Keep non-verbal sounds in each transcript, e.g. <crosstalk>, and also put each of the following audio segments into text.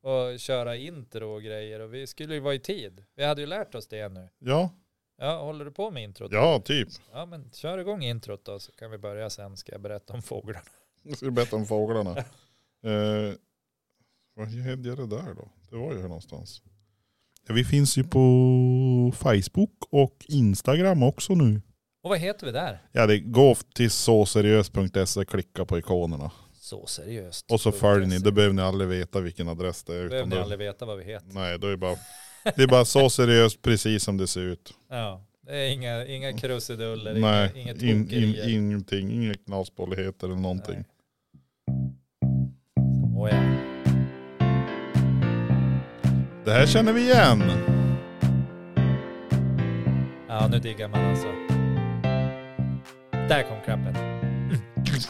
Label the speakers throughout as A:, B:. A: och köra intro och grejer och vi skulle ju vara i tid. Vi hade ju lärt oss det nu.
B: Ja,
A: Ja, håller du på med introt?
B: ja typ.
A: Ja, men kör igång introt då så kan vi börja sen ska jag berätta om fåglarna.
B: Jag ska berätta om fåglarna.
A: <laughs>
B: eh, vad hände det där då? Det var ju här någonstans. Ja, vi finns ju på Facebook och Instagram också nu.
A: Och vad heter vi där?
B: Ja, det går till såseriös.se, E, klicka på ikonerna.
A: Så seriöst.
B: Och så följer ni, då behöver ni aldrig veta vilken adress det är.
A: E. Behöver
B: utan
A: ni
B: då-
A: aldrig veta vad vi heter.
B: Nej, då är det bara, det är bara så seriöst precis som det ser ut.
A: Ja, det är inga, inga krusiduller,
B: Nej,
A: inga, inget
B: in, in,
A: tokerier.
B: ingenting, inga knasbolligheter eller någonting.
A: Nej. Åh, ja.
B: Det här känner vi igen.
A: ja, nu diggar man alltså. Där kom klappet.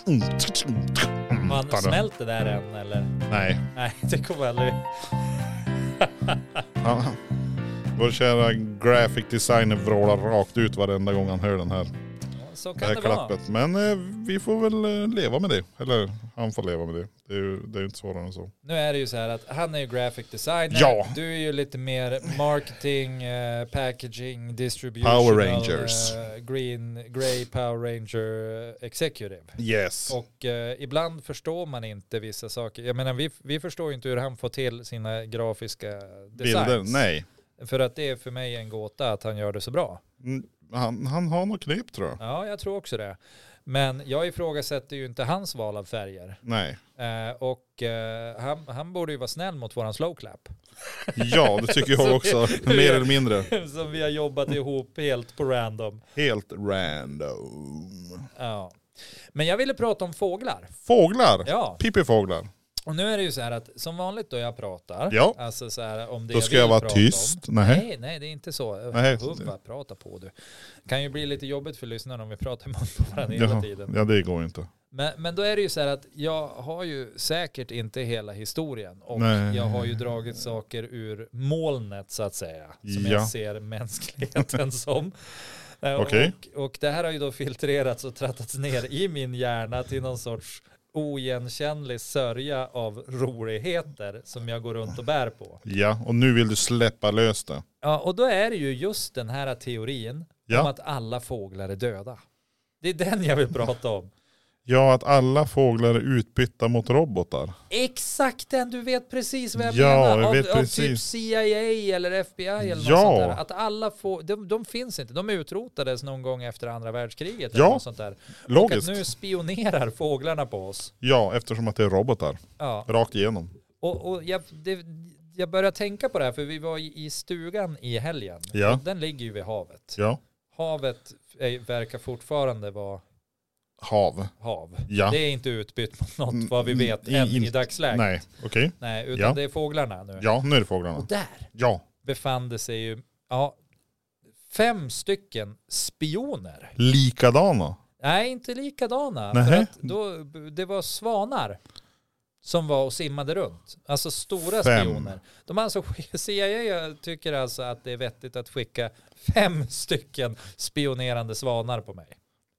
B: Mm.
A: Man smälter där än eller?
B: Nej.
A: Nej, det kommer aldrig.
B: Ja. Vår kära graphic designer vrålar rakt ut varenda gång han hör den här,
A: Ja, Så
B: det
A: kan
B: här
A: det vara.
B: klappet. Men eh, vi får väl eh, leva med det. Eller han får leva med det. Det är ju det är ju inte svårare än så.
A: Nu är det ju så här att han är ju graphic designer.
B: Ja.
A: Du är ju lite mer marketing, eh, packaging, distribution. eh,
B: Power Rangers.
A: green, grey Power Ranger eh, executive.
B: Yes.
A: Och eh, ibland förstår man inte vissa saker. Jag menar vi, vi förstår ju inte hur han får till sina grafiska designs.
B: Bilder? Nej.
A: För att det är för mig en gåta att han gör det så bra.
B: Mm, Han, han har något knep tror jag.
A: Ja, jag tror också det. Men jag ifrågasätter ju inte hans val av färger.
B: Nej.
A: <laughs> Eh, och eh, han, han borde ju vara snäll mot våran slow clap.
B: Ja, det tycker jag också. <laughs> Mer eller mindre.
A: <laughs> Som vi har jobbat ihop helt på random.
B: Helt random.
A: Ja. Men jag ville prata om fåglar.
B: Fåglar.
A: Ja,
B: Pippifåglar.
A: och nu är det ju så här att som vanligt då jag pratar,
B: Ja.
A: alltså så här om det
B: Då
A: jag
B: ska jag
A: vill
B: vara
A: prata Om,
B: tyst. Nej.
A: Nej, nej, det är inte så.
B: Nej.
A: Hubba, prata på du. kan ju bli lite jobbigt för lyssnarna om vi pratar emot varandra hela
B: Ja,
A: tiden.
B: ja, det går inte.
A: Men, men då är det ju så här att jag har ju säkert inte hela historien och
B: Nej.
A: jag har ju dragit saker ur molnet så att säga som
B: Ja.
A: jag ser mänskligheten <laughs> som. Eh,
B: Okej.
A: Och, och det här har ju då filtrerats och trattats ner i min hjärna till någon sorts oigenkännlig sörja av roligheter som jag går runt och bär på.
B: Ja, och nu vill du släppa lös det.
A: Ja, och då är det ju just den här teorin om
B: Ja.
A: att alla fåglar är döda. Det är den jag vill prata om.
B: ja, att alla fåglar är utbytta mot robotar.
A: Exakt den, du vet precis vad jag
B: Ja,
A: menar.
B: jag
A: Av,
B: vet
A: av typ
B: precis.
A: CIA eller FBI eller något
B: Ja.
A: sånt där. Att alla får, de, de finns inte, de utrotades någon gång efter andra världskriget eller
B: Ja,
A: något sånt där. Och att
B: Logiskt.
A: nu spionerar fåglarna på oss.
B: Ja, eftersom att det är robotar.
A: Ja,
B: Rakt igenom.
A: och, och jag, det, jag börjar tänka på det här för vi var i i stugan i helgen.
B: Ja.
A: Och Den ligger ju vid havet.
B: Ja.
A: Havet är, verkar fortfarande vara
B: Hav.
A: hav.
B: Ja.
A: Det är inte utbytt mot något vad vi
B: Mm,
A: vet
B: i-
A: än i
B: inte-
A: dagsläget. Nej,
B: Nej, okej.
A: utan
B: Ja.
A: det är fåglarna nu.
B: Ja, nu är det
A: Och
B: fåglarna.
A: där
B: Ja.
A: befann det sig ju ja, fem stycken spioner.
B: Likadana.
A: Nej, inte likadana. För
B: Nähä.
A: att då, det var svanar som var och simmade runt. Alltså stora
B: Fem.
A: spioner. De har alltså, <laughs> CIA tycker alltså att det är vettigt att skicka fem stycken spionerande svanar på mig.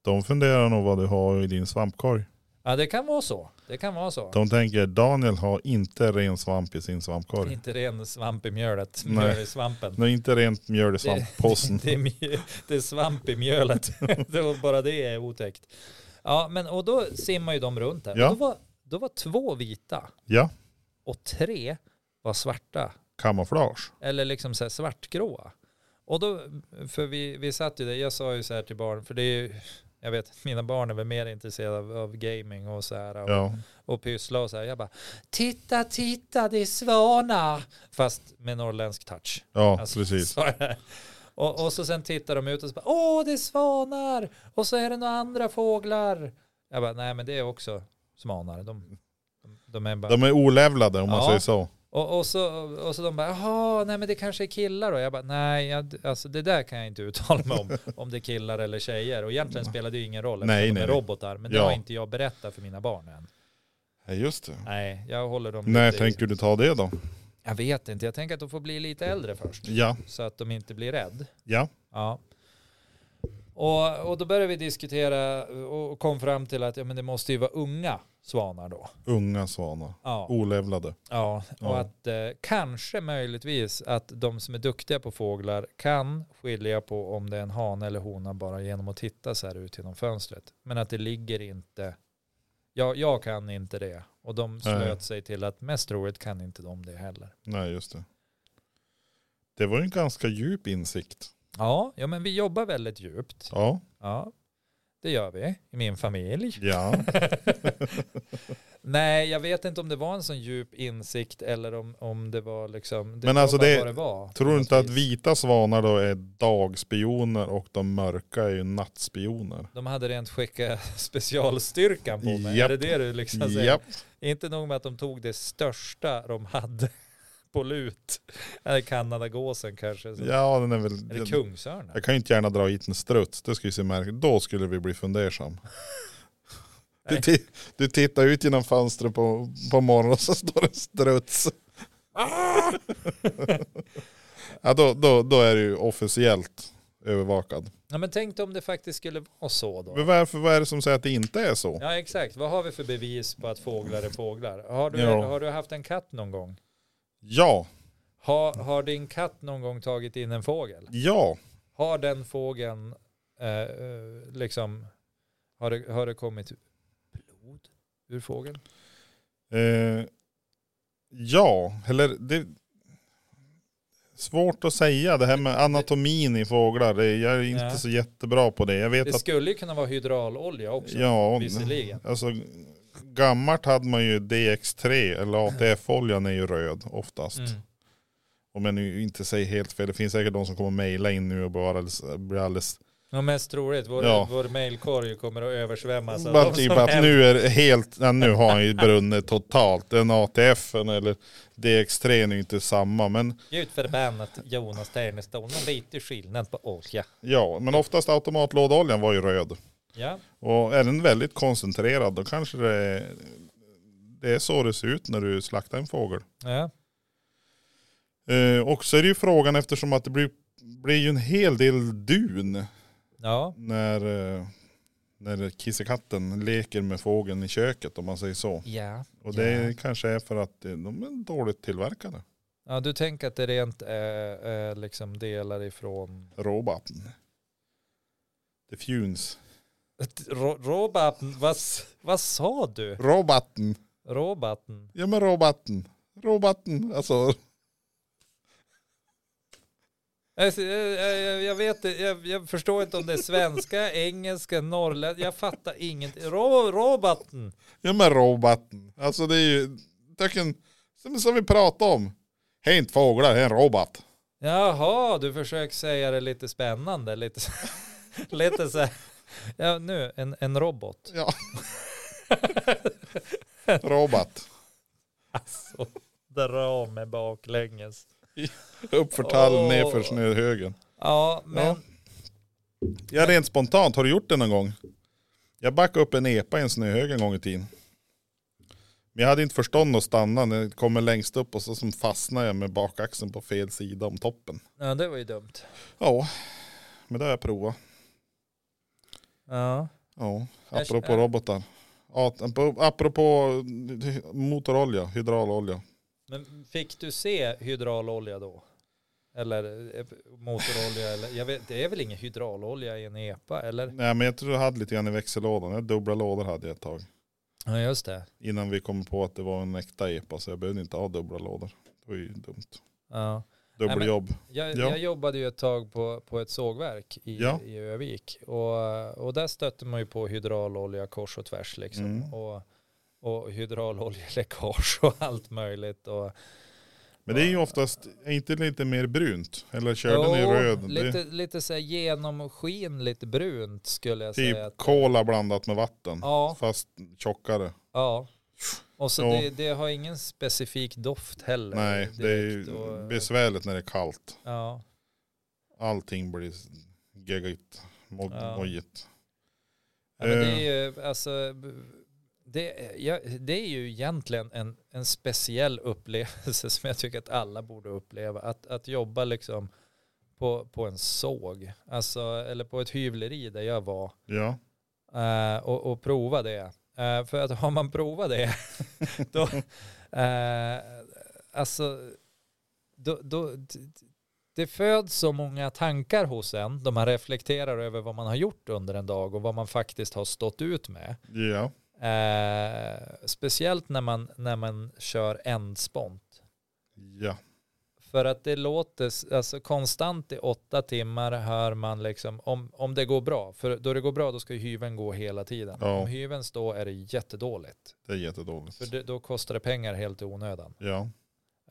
B: De funderar nog vad du har i din svampkorg.
A: Ja, det kan vara så. Det kan vara så.
B: De tänker Daniel har inte ren svamp i sin svampkorg.
A: Inte ren svamp i mjölet,
B: Nej.
A: mjöl i svampen.
B: Nej, inte rent mjöl i svamppåsen.
A: <laughs> Det är, mj- det är svamp i mjölet. <laughs> det var bara det är otäckt. Ja, men och då simmar ju de runt där.
B: Ja.
A: Och Då, var, då var två vita
B: Ja,
A: och tre var svarta.
B: kamouflage.
A: Eller liksom så här svartgråa. Och då, för vi, vi satt ju där, jag sa ju så här till barn, för det är ju, jag vet, mina barn är väl mer intresserade av, av gaming och så här. Och,
B: Ja,
A: och pyssla och så här. Jag bara, titta, titta, det är svanar. Fast med norrländsk touch.
B: ja
A: Alltså,
B: precis.
A: så är det. Och, och så sen tittar de ut och så bara, åh det är svanar! Och så är det några andra fåglar. Jag bara, nej men det är också svanar. De, de, de är bara...
B: De är olevlade om man
A: Ja.
B: säger så.
A: Och, och, så, och så de bara, jaha, nej men det kanske är killar då. Jag bara, nej, jag, alltså det där kan jag inte uttala mig
B: <laughs>
A: om, om det är killar eller tjejer. Och egentligen spelar det ju ingen roll, eftersom
B: Nej,
A: de
B: nej,
A: är
B: nej.
A: robotar. Men det
B: Ja.
A: har inte jag berättat för mina barn än.
B: Ja, just det.
A: Nej, jag håller dem
B: När
A: lite i-
B: tänker du ta det då?
A: Jag vet inte, jag tänker att de får bli lite äldre först.
B: Ja,
A: Så att de inte blir rädd.
B: ja.
A: Ja. Och, och då började vi diskutera och kom fram till att ja, men det måste ju vara unga svanar då.
B: Unga svanar.
A: Ja.
B: Olevlade.
A: Ja, och
B: Oh. Ja.
A: att eh, kanske möjligtvis att de som är duktiga på fåglar kan skilja på om det är en hane eller hona bara genom att titta så här ut genom fönstret. Men att det ligger inte, jag, jag kan inte det. Och de slöt
B: Nej.
A: sig till att mest troligt kan inte de det heller.
B: Nej, just det. Det var ju en ganska djup insikt.
A: Ja, ja men vi jobbar väldigt djupt.
B: Ja.
A: Ja, det gör vi i min familj.
B: Ja.
A: <laughs> Nej, jag vet inte om det var en sån djup insikt eller om, om det var liksom... Det
B: Men
A: var
B: alltså
A: bara
B: det-
A: vad det var,
B: Tror du inte att
A: vis.
B: vita svanar då är dagspioner och de mörka är ju nattspioner?
A: <laughs> De hade rent skicka <laughs> specialstyrkan på mig.
B: Japp.
A: Är det det du liksom säger?
B: Japp.
A: Inte nog med att de tog det största de hade <laughs> på lut. Eller Kanadagåsen kanske. Så.
B: Ja, den är väl...
A: Eller kungsörnen.
B: Jag kan ju inte gärna dra hit en struts, det skulle ju se märkligt Då skulle vi
A: <laughs>
B: bli fundersam. Du,
A: Nej.
B: ti- du tittar ut genom fönstret på, på morgonen och så står det en struts. ja, då, då, då är du ju officiellt övervakad.
A: Ja, men tänk dig om det faktiskt skulle vara så då.
B: Men varför, vad är det som säger att det inte är så?
A: Ja exakt, vad har vi för bevis på att fåglar är fåglar? Har du,
B: Ja.
A: har du haft en katt någon gång?
B: Ja,
A: Har, har din katt någon gång tagit in en fågel?
B: ja,
A: Har den fågeln eh, eh, liksom, har det, har det kommit blod ur fågeln?
B: eh, ja, eller det... Svårt att säga, det här med anatomin i fåglar, det, jag är inte
A: Ja.
B: så jättebra på det. Jag vet
A: Det
B: att...
A: skulle ju kunna vara hydraulolja också,
B: Ja,
A: visserligen.
B: Alltså gammalt hade man ju DX3 eller ATF-oljan är ju röd oftast.
A: Mm.
B: Om jag nu inte säger helt fel, det finns säkert de som kommer mejla in nu och bara alldeles, blir alldeles...
A: Ja, mest troligt, vår,
B: Ja.
A: vår mailkorg kommer att översvämmas av
B: bara
A: de
B: typ
A: Alltså, som
B: att
A: är-
B: nu är det helt, ja, nu har han ju brunnit totalt. Den ATF eller DX3 är ju inte samma. Men
A: Gud förbannat Jonas Ternestål, någon lite skillnad på olja.
B: ja, men oftast automatlådoljan var ju röd.
A: Ja,
B: Och är den väldigt koncentrerad då kanske det är, det är så det ser ut när du slaktar en fågel.
A: ja.
B: Eh, och så är det ju frågan eftersom att det blir, blir ju en hel del dun
A: ja.
B: när, eh, när kissekatten leker med fågeln i köket om man säger så.
A: ja.
B: Och det
A: Ja.
B: kanske är för att eh, de är dåligt tillverkade.
A: Ja, du tänker att det rent är är liksom delar ifrån
B: Råbatten. Det funes.
A: Ro- Robatten, vad, s- vad sa du?
B: Råbatten.
A: Robatten?
B: Ja men råbatten. Råbatten. Alltså
A: Alltså, jag, jag, jag vet inte, jag, jag förstår inte om det är svenska, <laughs> engelska, norrländska, jag fattar ingenting. Ro, robatten!
B: Ja men roboten. Alltså det är ju, töken, som, som vi pratade om. Det är inte fåglar, det är en robot.
A: Jaha, du försöker säga det lite spännande, lite, så- <laughs> lite så här. Ja, nu, en, en robot.
B: Ja. robot.
A: Alltså, dra mig baklänges.
B: Uppför tall,
A: Åh.
B: nerför snöhögen.
A: Ja, men
B: Ja. Ja rent spontant, har du gjort det någon gång? Jag backade upp en epa i en snöhög en gång i tiden. Men jag hade inte förstånd att stanna när jag kommer längst upp och så som fastnade jag med bakaxeln på fel sida om toppen.
A: ja, det var ju dumt.
B: Ja, men det har jag provat.
A: Ja,
B: Ja,
A: Jag-
B: apropå
A: ja.
B: robotar. Ja, apropå motorolja, hydraulolja.
A: men fick du se hydraulolja då? Eller eh, motorolja? Eller, jag vet, det är väl ingen hydraulolja i en EPA, eller?
B: Nej men jag tror jag hade lite grann i växellådan. Jag dubbla lådor hade jag ett tag.
A: Ja, just det.
B: Innan vi kom på att det var en äkta epa så jag behövde inte ha dubbla lådor. Det var ju dumt.
A: Ja. men-
B: Dubbeljobb.
A: Jag,
B: Ja.
A: jag jobbade ju ett tag på, på ett sågverk i,
B: Ja.
A: i Övik och, och där stötte man ju på hydraulolja kors och tvärs liksom.
B: Mm.
A: Och, och hydrauloljeläckage <laughs> och allt möjligt. Och,
B: Men det är ju oftast, är inte lite mer brunt? Eller kör den i
A: Jo,
B: röd? Det är
A: Lite, lite så här genomskinligt brunt skulle jag säga.
B: typ
A: att-
B: kola blandat med vatten.
A: Ja,
B: Fast tjockare.
A: ja. Och så
B: Ja.
A: det, det har ingen specifik doft heller.
B: Nej, det är
A: direkt
B: ju
A: och-
B: besvärligt när det är kallt.
A: Ja,
B: Allting blir geggigt, mo-
A: Ja.
B: mojigt.
A: ja men det
B: Eh.
A: är ju alltså... b- Det, ja, det är ju egentligen en, en <laughs> speciell upplevelse som jag tycker att alla borde uppleva. Att, att jobba liksom på, på en såg, alltså, eller på ett hyvleri där jag var
B: Ja.
A: eh, och, och prova det. Eh, för att har man provat det, <laughs> då, eh, alltså, då, då, d- d- det föds så många tankar hos en då man reflekterar över vad man har gjort under en dag och vad man faktiskt har stått ut med.
B: Ja.
A: Eh, speciellt när man, när man kör endspont.
B: Ja.
A: För att det låter, s- alltså konstant i åtta timmar hör man liksom, om, om det går bra, för då det går bra då ska ju hyven gå hela tiden.
B: Ja.
A: Om hyven står är det jättedåligt.
B: Det är jättedåligt.
A: För det, då kostar det pengar helt i onödan.
B: Ja.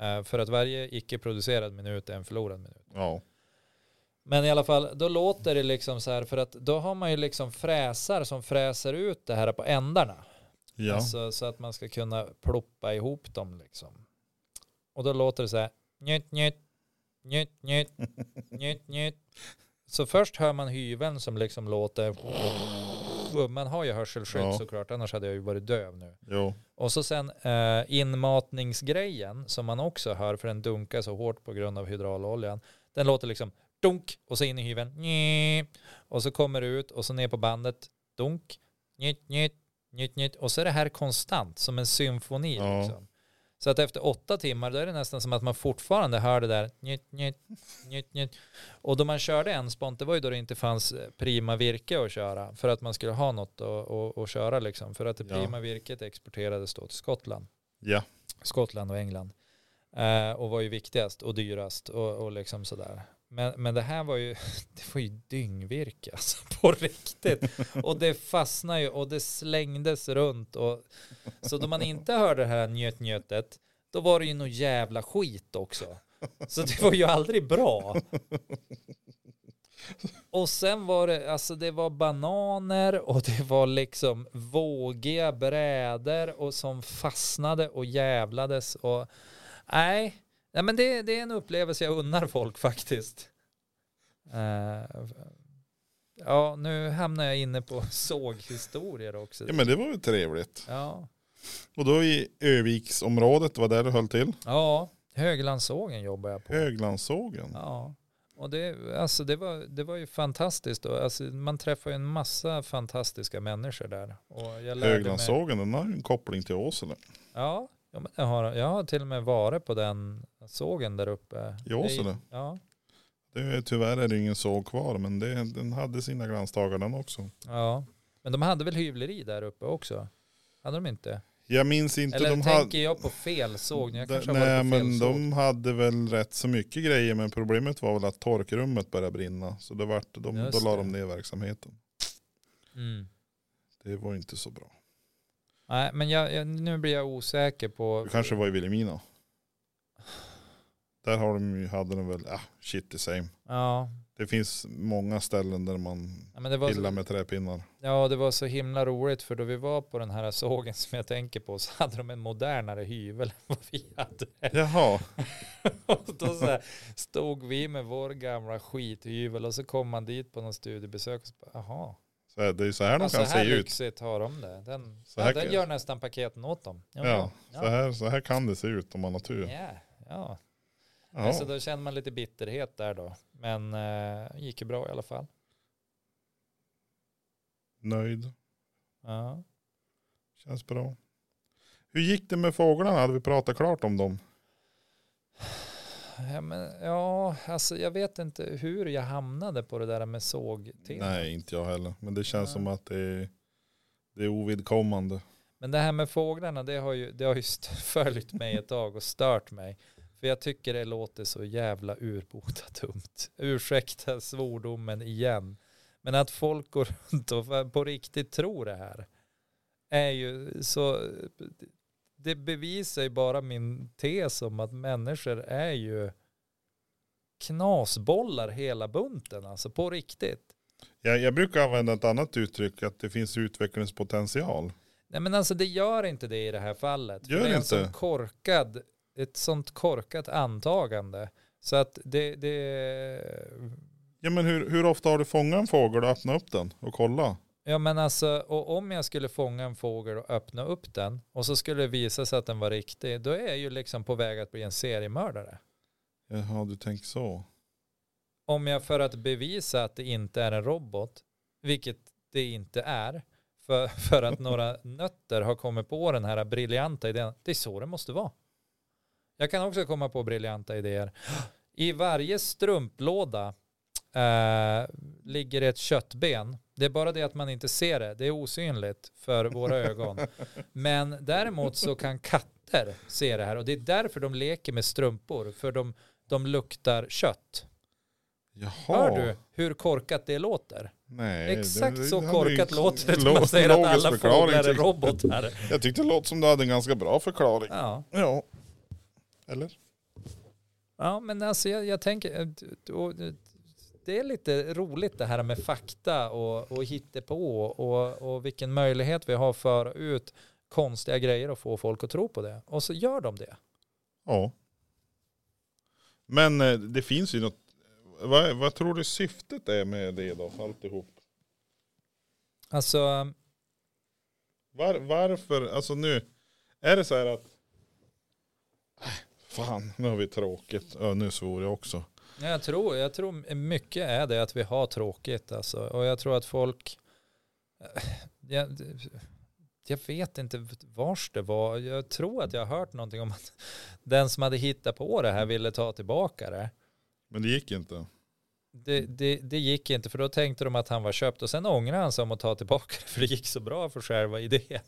A: Eh, för att varje icke-producerad minut är en förlorad minut.
B: Ja.
A: Men i alla fall, då låter det liksom så här, för att då har man ju liksom fräsar som fräser ut det här på ändarna.
B: Ja.
A: Alltså, så att man ska kunna ploppa ihop dem liksom. Och då låter det så här. Njut, njut, njut,
B: <laughs>
A: njut, njut, njut. Så först hör man hyveln som liksom låter. Man har ju hörselskydd
B: Ja.
A: såklart, annars hade jag ju varit döv nu.
B: Jo.
A: Och så sen eh, inmatningsgrejen som man också hör för den dunkar så hårt på grund av hydrauloljan. Den låter liksom dunk och så in i hyven. Nyi. Och så kommer det ut och så ner på bandet. Dunk, nytt, nytt, nytt, nytt. Och så är det här konstant som en symfoni.
B: Ja.
A: Liksom. Så att efter åtta timmar då är det nästan som att man fortfarande hör det där nytt, nytt, nytt, nytt. Och då man körde enspont, det var ju då det inte fanns eh, prima virke att köra för att man skulle ha något att, att, att köra liksom. För att det
B: Ja.
A: prima virket exporterades då till Skottland.
B: Ja.
A: Skottland och England. Eh, och var ju viktigast och dyrast och, och liksom sådär. Men, men det här var ju, <laughs> det var ju dyngvirke alltså, på riktigt. Och det fastnade ju och det slängdes runt. Och, så då man inte hörde det här njöt-njötet, då var det ju något jävla skit också. Så det var ju aldrig bra. Och sen var det, alltså det var bananer och det var liksom vågiga brädor och som fastnade och jävlades och nej, nej men det, det är en upplevelse jag unnar folk faktiskt. Eh, ja, nu hamnar jag inne på såghistorier också.
B: ja. Men det var väl trevligt.
A: Ja,
B: Och då i Öviksområdet var där du höll till.
A: ja Höglandssågen jobbar jag på.
B: Höglandssågen.
A: Ja, och det, alltså det, var, det var ju fantastiskt. Då. Alltså man träffar ju en massa fantastiska människor där. Och jag lärde mig,
B: Höglandssågen, den har ju en koppling till Åsele.
A: ja, ja, men jag, har, jag har till och med varit på den sågen där uppe.
B: I Åsele.
A: Det- Ja,
B: Det är, tyvärr är det ju ingen såg kvar, men det, den hade sina glansdagar den också.
A: ja, men de hade väl hyvleri där uppe också? Hade de inte?
B: Jag minns inte,
A: Eller
B: de hade...
A: tänker jag på fel såg? Jag kanske har
B: Nej
A: varit på fel
B: men
A: såg.
B: de hade väl rätt så mycket grejer men problemet var väl att torkrummet började brinna. Så det vart, de, då
A: Just
B: la
A: det.
B: de ner verksamheten.
A: Mm.
B: Det var inte så bra.
A: Nej, men jag, jag, nu blir jag osäker på...
B: Det kanske var i Vilhelmina. Där har de, ju- hade de väl, ah, shit the same.
A: Ja,
B: Det finns många ställen där man
A: ja, men det var...
B: pillar med träpinnar.
A: Ja, det var så himla roligt för då vi var på den här sågen som jag tänker på så hade de en modernare hyvel än vad vi hade. <laughs>
B: Jaha,
A: Och då så här, stod vi med vår gamla skithyvel och så kom man dit på någon studiebesök och så bara, jaha,
B: så här, det är ju så här de
A: ja, så
B: kan
A: här
B: se ut.
A: lyxigt har de det. Den,
B: Så här
A: ja, den
B: kan-
A: gör nästan paketen åt dem. Ja,
B: Ja,
A: ja.
B: så här, så här kan det se ut om man har tur.
A: Ja, ja. Så
B: Ja,
A: då känner man lite bitterhet där då. Men eh, gick ju bra i alla fall.
B: nöjd,
A: Ja.
B: känns bra. Hur gick det med fåglarna? Hade vi pratat klart om dem?
A: Ja, men, ja, alltså jag vet inte hur jag hamnade på det där med sågtemat.
B: Nej, inte jag heller. Men det känns
A: Nej.
B: som att det är, det är ovidkommande.
A: Men det här med fåglarna, det har ju, det har ju st- <laughs> följt mig ett tag och stört mig. För jag tycker det låter så jävla urbota dumt. Ursäkta svordomen igen. Men att folk går <laughs> runt och på riktigt tror det här är ju så... Det bevisar ju bara min tes om att människor är ju knasbollar hela bunten, alltså på riktigt.
B: Jag, jag brukar använda ett annat uttryck, att det finns utvecklingspotential.
A: Nej men alltså det gör inte det i det här fallet. För
B: Gör
A: det är en
B: inte?
A: sån korkad, ett sånt korkat antagande. Så att det, det
B: Ja, men hur, hur ofta har du fångat en fågel och öppnat upp den och kolla?
A: ja men alltså, och om jag skulle fånga en fågel och öppna upp den och så skulle det visa sig att den var riktig, då är jag ju liksom på väg att bli en seriemördare.
B: Jaha, du tänker så.
A: om jag för att bevisa att det inte är en robot, vilket det inte är, för, <laughs> för att några nötter har kommit på den här briljanta idén. Det är så det måste vara. Jag kan också komma på briljanta idéer. <gasps> I varje strumplåda eh, ligger ett köttben. Det är bara det att man inte ser det. Det är osynligt för våra ögon. Men däremot så kan katter se det här och det är därför de leker med strumpor. För de, de luktar kött.
B: Jaha.
A: Hör du hur korkat det låter?
B: Nej,
A: Exakt
B: det- det
A: så
B: hade
A: korkat
B: ju-
A: låter det när
B: lo-
A: man säger att
B: logisk
A: alla
B: förklaring,
A: fåglar är
B: tyckte jag.
A: robotar.
B: Jag tyckte det låter som du hade en ganska bra förklaring.
A: Ja.
B: Ja. Eller?
A: ja, men alltså jag, jag tänker, eh, d- d- och, eh, det är lite roligt det här med fakta och, och hittepå och, och vilken möjlighet vi har för ut konstiga grejer och få folk att tro på det. Och så gör de det.
B: Ja. Men eh, det finns ju något. Vad, vad tror du syftet är med det då? Alltihop.
A: Alltså,
B: Var, varför? Alltså nu. Är det så här att. Äh, Fan, nu har vi tråkigt. Ja, nu svor jag också.
A: Ja, Jag tror, jag tror mycket är det att vi har tråkigt alltså. Och jag tror att folk, eh, jag, jag vet inte vars det var. Jag tror att jag har hört någonting om att den som hade hittat på det här ville ta tillbaka det.
B: Men det gick inte.
A: Det, det, det gick inte för då tänkte de att han var köpt och sen ångrade han sig om att ta tillbaka det för det gick så bra för själva idén.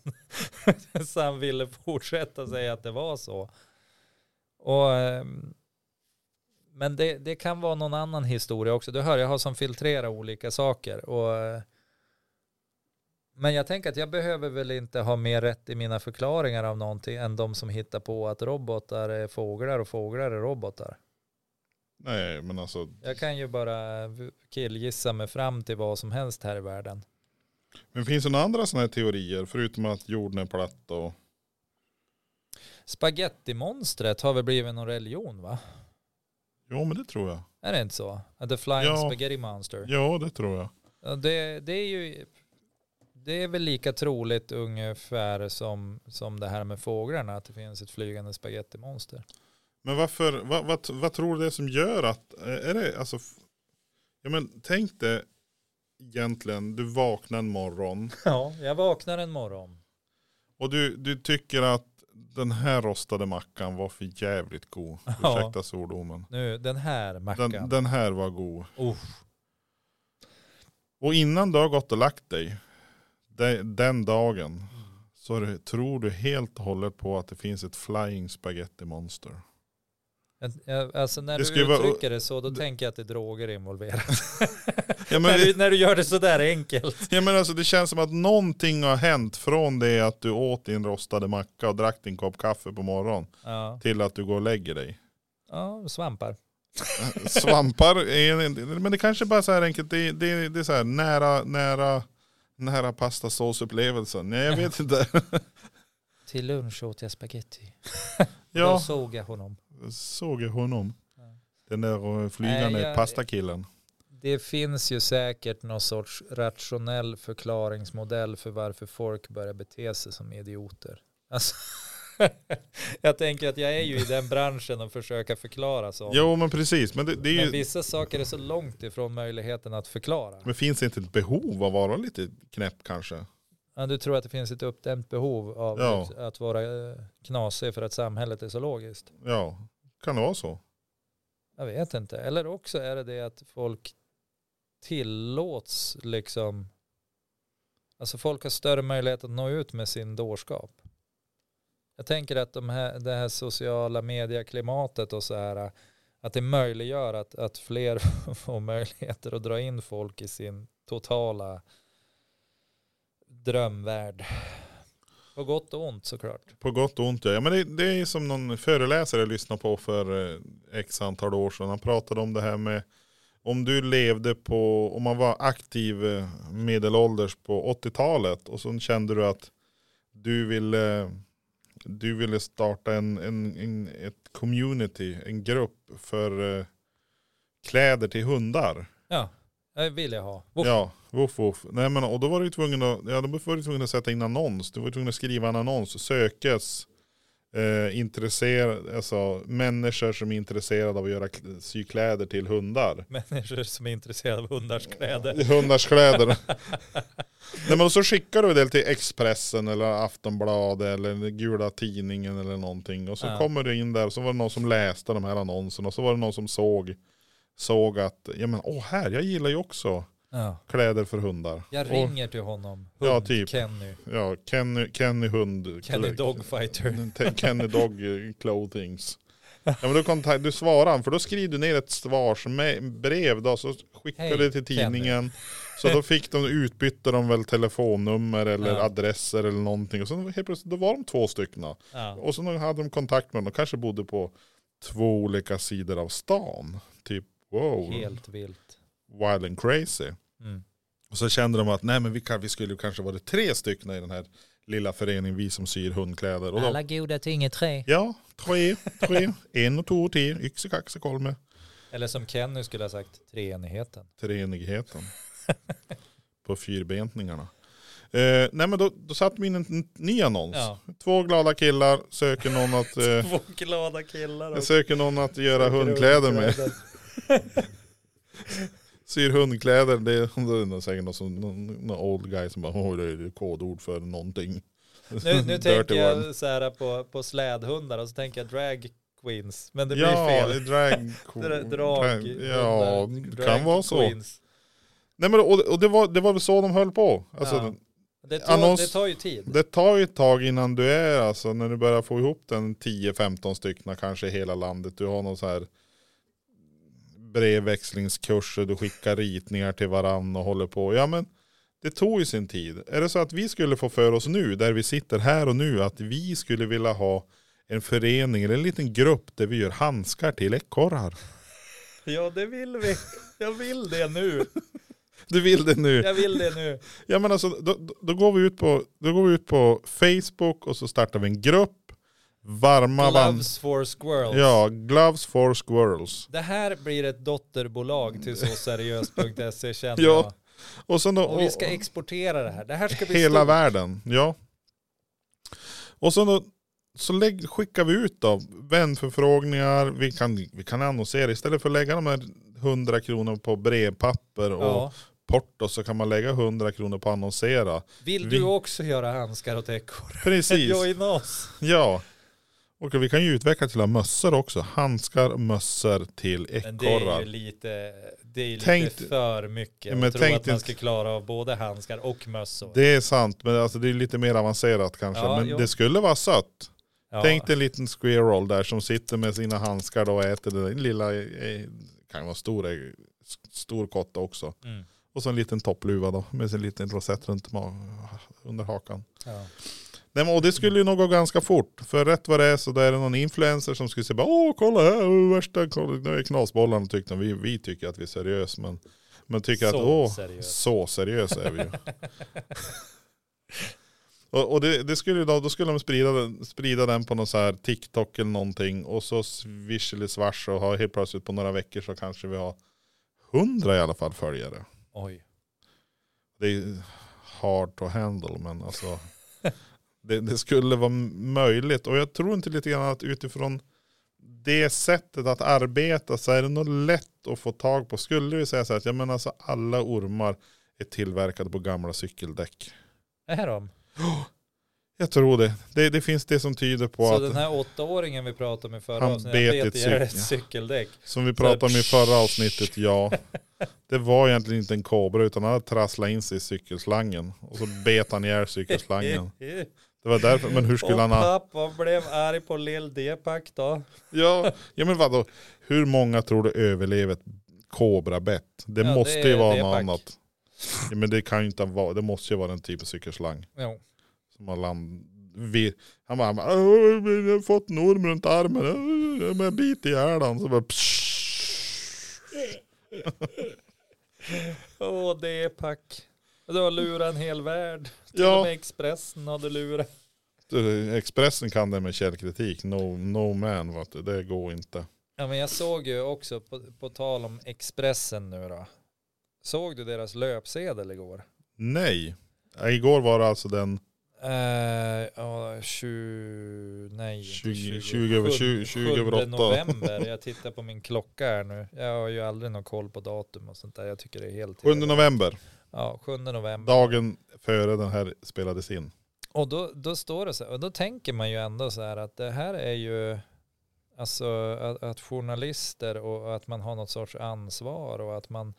A: <laughs> så han ville fortsätta säga att det var så. Och, ehm, men det, det kan vara någon annan historia också. Du hör, jag har som filtrera olika saker. Och, eh, men jag tänker att jag behöver väl inte ha mer rätt i mina förklaringar av någonting än de som hittar på att robotar är fåglar och fåglar är robotar.
B: Nej, men alltså.
A: Jag kan ju bara killgissa mig fram till vad som helst här i världen.
B: Men finns det några andra sådana här teorier? Förutom att jorden är platt och.
A: Spagettimonstret har väl blivit någon religion va?
B: Jo, men det tror jag.
A: Är det inte så? The Flying
B: Ja.
A: Spaghetti Monster.
B: Ja, det tror jag.
A: Ja. Det, det är ju det är väl lika troligt ungefär som, som det här med fåglarna, att det finns ett flygande spagettimonster.
B: Men varför, vad, vad, vad tror du det är som gör att, är det alltså, f- ja men tänk dig egentligen, du vaknar en morgon
A: Ja, jag vaknar en morgon.
B: och du, du tycker att den här rostade mackan var för jävligt god.
A: Ja.
B: Ursäkta svordomen.
A: Nu, den här mackan.
B: Den, den här var god.
A: Uff.
B: Och innan du har gått och lagt dig, de, den dagen, så är det- tror du helt och hållet på att det finns ett flying spaghetti monster.
A: Jag- jag- Alltså när
B: Det
A: du
B: skulle vara-
A: uttrycker det så, då tänker jag att det är droger involverat.
B: Ja, men
A: när,
B: vi-
A: du, när du gör <laughs> det sådär enkelt.
B: Ja men alltså det känns som att någonting har hänt från det att du åt din rostade macka och drack din kopp kaffe på morgonen
A: Ja.
B: till att du går och lägger dig.
A: <laughs> Ja, svampar.
B: Svampar, är, men det kanske bara är så här enkelt, det, det, det är så här nära, nära, nära pastasåsupplevelsen. Nej jag
A: <laughs>
B: vet inte.
A: Till lunch åt jag spagetti. Då
B: Ja,
A: såg jag honom.
B: såg jag honom. Den där eh, flygande
A: Nej, jag-
B: pastakillen.
A: Det finns ju säkert någon sorts rationell förklaringsmodell för varför folk börjar bete sig som idioter. Alltså, <laughs> jag tänker att jag är ju i den branschen och försöker förklara sånt.
B: Jo men precis, men det, det är
A: Men
B: ju,
A: vissa saker är så långt ifrån möjligheten att förklara.
B: men finns det inte ett behov av att vara lite knäpp kanske?
A: Ja, du tror att det finns ett uppdämt behov av
B: Ja.
A: att, att vara eh, knasig för att samhället är så logiskt.
B: Ja, kan det vara så?
A: Jag vet inte. Eller också är det det att folk tillåts liksom. Alltså folk har större möjlighet att nå ut med sin dårskap. Jag tänker att de här, det här sociala medieklimatet och så här. Att det möjliggör att, att fler <laughs> får möjligheter att dra in folk i sin totala drömvärld. På gott och ont såklart.
B: På gott och ont ja. ja men det, det är som någon föreläsare jag lyssnade på för eh, x antal år sedan. Han pratade om det här med om du levde på, om man var aktiv eh, medelålders på 80-talet och så kände du att du ville, du ville starta en, en, en, ett community, en grupp för eh, kläder till hundar.
A: Ja, det vill jag ha.
B: Ja, woof woof. Nej men och då var du ju tvungen att, ja, då var du tvungen att sätta in annons. Du var ju tvungen att skriva en annons, sökes eh, intresserade, alltså människor som är intresserade av att göra k- sy kläder
A: <laughs>
B: till hundar.
A: <laughs> Människor som är intresserade av hundars kläder.
B: Hundars kläder. Nej men så skickar du det till Expressen eller Aftonbladet eller Gula Tidningen eller någonting. Och så
A: Ja.
B: kommer du in där och så var det någon som läste de här annonserna. Och så var det någon som såg, såg att, ja men åh här, jag gillar ju också
A: Ja.
B: kläder för hundar.
A: Jag
B: Och-
A: ringer till honom. Hund,
B: Ja, typ.
A: Kenny.
B: Ja, Kenny, Kenny Hund.
A: Kenny Dogfighter.
B: Te- <laughs> Kenny Dog eh, Clothings. Ja, men du, kontakt, du svarar han, för då skriver du ner ett svarsbrev då, så skickar
A: Hej,
B: du det till
A: Kenny.
B: tidningen. Så då fick de, utbytte de väl telefonnummer eller
A: Ja.
B: adresser eller någonting. Och sen helt plötsligt, då var de två stycken.
A: Ja.
B: Och sen hade de kontakt med dem, de kanske bodde på två olika sidor av stan. Typ wow,
A: Helt vilt.
B: wild and crazy.
A: Mm.
B: Och så kände de att nej men vi, kan, vi skulle kanske vara tre stycken i den här lilla föreningen, vi som syr hundkläder. Och då,
A: goda ting är tre.
B: Ja, tre, tre, en och två och tre, yxe, kaxe, kolme,
A: Eller som Kenny skulle ha sagt, treenigheten.
B: treenigheten. På fyrbentningarna. Eh, nej men då, då satte vi in en n- ny annons. <laughs>
A: Ja.
B: Två glada killar söker någon att, eh,
A: Två glada killar.
B: söker någon att göra hundkläder med. Syr hundkläder, det är, det är säkert någon, som, någon, någon old guy som bara, oj det är kodord för någonting.
A: <laughs> Nu, nu
B: <laughs> Dirty
A: tänker
B: one.
A: jag så här på, på slädhundar och så tänker jag drag queens. Men det blir
B: ja,
A: fel. <laughs>
B: Drag,
A: Dra-
B: drag,
A: Drag,
B: ja,
A: hundar,
B: det
A: drag
B: kan vara så.
A: queens.
B: Nej, men, och och det, var, det var väl så de höll på. Alltså,
A: Ja. Det tar,
B: Annons-
A: det tar ju tid.
B: Det tar ju ett tag innan du är, alltså när du börjar få ihop den 10-15 stycken kanske i hela landet. Du har någon så här brevväxlingskurser, du skickar ritningar till varann och håller på. Ja men det tog ju sin tid. Är det så att vi skulle få för oss nu, där vi sitter här och nu, att vi skulle vilja ha en förening eller en liten grupp där vi gör handskar till ekorrar.
A: Ja, det vill vi. Jag vill det nu.
B: Du vill det nu?
A: Jag vill det nu.
B: Ja men alltså, då, då- då, går vi ut på, då går vi ut på Facebook och så startar vi en grupp. Varma vann.
A: Loves for squirrels.
B: Ja, Gloves for Squirrels.
A: Det här blir ett dotterbolag
B: <laughs>
A: till såseriöst.se känner
B: Ja,
A: jag.
B: Och sen då,
A: Och vi ska exportera det här. Det här ska bli
B: hela
A: stort.
B: världen. Ja. Och sen då, så lägg, skickar vi ut då vänförfrågningar, vi kan, vi kan annonsera, istället för att lägga de här 100 kronor på brevpapper och
A: Ja.
B: porto så kan man lägga 100 kronor
A: <laughs>
B: på annonsera.
A: Vill
B: Vi-
A: du också göra handskar åt ekorre?
B: Precis,
A: Join oss.
B: ja. Och vi kan ju utveckla till att ha mössor också, handskar, mössor till
A: Men det är ju
B: ekorrar.
A: lite, det är ju
B: Tänk-
A: lite för mycket
B: Ja, men
A: att tro
B: tänk
A: att man
B: inte-
A: ska klara av både handskar och mössor.
B: Det är sant, men alltså det är lite mer avancerat kanske.
A: Ja,
B: men
A: jo.
B: det skulle vara sött.
A: ja.
B: Tänk dig en liten squirrel där som sitter med sina handskar då och äter den där lilla, eh, kan ju vara stor, eh, s- stor kotta också.
A: Mm.
B: Och så en liten toppluva då med sin liten rosett runt ma- under hakan.
A: Ja.
B: Nej, men, och det skulle ju nog gå ganska fort. För rätt vad det är så där är det någon influencer som skulle säga bara, åh kolla här, åh, värsta, kolla, nu är knasbollarna tyckte de. Vi, vi tycker att vi är seriösa men, men tycker att
A: Så
B: åh,
A: seriös.
B: så seriösa är vi ju. <laughs> och och det, det skulle då, då skulle de sprida, den- sprida den på någon så här TikTok eller någonting. Och så swish och ha helt plötsligt på några veckor så kanske vi har hundra i alla fall följare.
A: Oj.
B: Det är hard to handle men alltså <laughs> det, det skulle vara möjligt. Och jag tror inte lite grann att utifrån det sättet att arbeta så är det nog lätt att få tag på. Skulle vi säga så här att ja, men alltså alla ormar är tillverkade på gamla cykeldäck.
A: Är de?
B: Jag tror det. Det, det finns det som tyder på
A: Så
B: att,
A: den här åttaåringen vi pratade om i förra
B: Han
A: avsnittet,
B: bet
A: han
B: i ett
A: bet ihjäl ett
B: cykel.
A: cykeldäck.
B: som vi pratade om i förra avsnittet, ja. Det var egentligen inte en kobra utan han hade trasslat in sig i cykelslangen. Och så bet han
A: <laughs>
B: ihjäl cykelslangen. Det var därför, men hur skulle
A: Och
B: han ha...
A: pappa blev arg på lill Depak då.
B: Ja, ja men vadå? Hur många tror du överlever ett kobrabett? Det
A: Ja,
B: måste
A: det-
B: ju vara
A: det är
B: något
A: pack.
B: annat. Ja, men det kan ju inte vara, det måste ju vara den typen av cykelslang.
A: Jo.
B: Som har land, vi, han bara, han bara "Åh, men jag har fått en orm runt armen, Åh, men jag biter ihjäl den. Så bara, psh.
A: Åh, Depak. Du har lurat en hel värld. Till och
B: Ja,
A: med Expressen hade lurat.
B: du, Expressen kan det med källkritik. No, no man, vet du, det går inte.
A: Ja, men jag såg ju också, på, på tal om Expressen nu då. Såg du deras löpsedel igår?
B: Nej, igår var det alltså den
A: Eh, ja, 20, nej, inte
B: 20, 20 över 20, 20 över
A: 7
B: åtta.
A: november, jag tittar på min klocka här nu. Jag har ju aldrig någon koll på datum och sånt där. Jag tycker det är helt...
B: 7 november,
A: Ja, 7 november.
B: dagen före den här spelades in.
A: Och då, då står det så här, och då tänker man ju ändå så här att det här är ju, alltså att, att journalister och att man har något sorts ansvar och att man,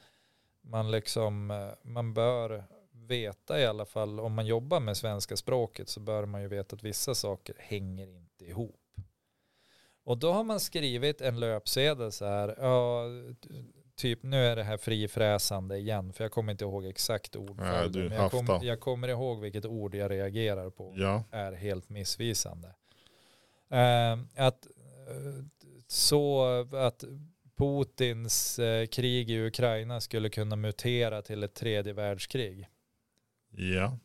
A: man liksom, eh, man bör veta i alla fall, om man jobbar med svenska språket så bör man ju veta att vissa saker hänger inte ihop. Och då har man skrivit en löpsedel så här, ja, t- typ nu är det här frifräsande igen, för jag kommer inte ihåg exakt
B: Nej,
A: ordföljden.
B: du,
A: men jag,
B: hafta.
A: kom, jag kommer ihåg vilket ord jag reagerar på
B: Ja,
A: är helt missvisande. Eh, att eh, så att Putins eh, krig i Ukraina skulle kunna mutera till ett tredje världskrig.
B: ja.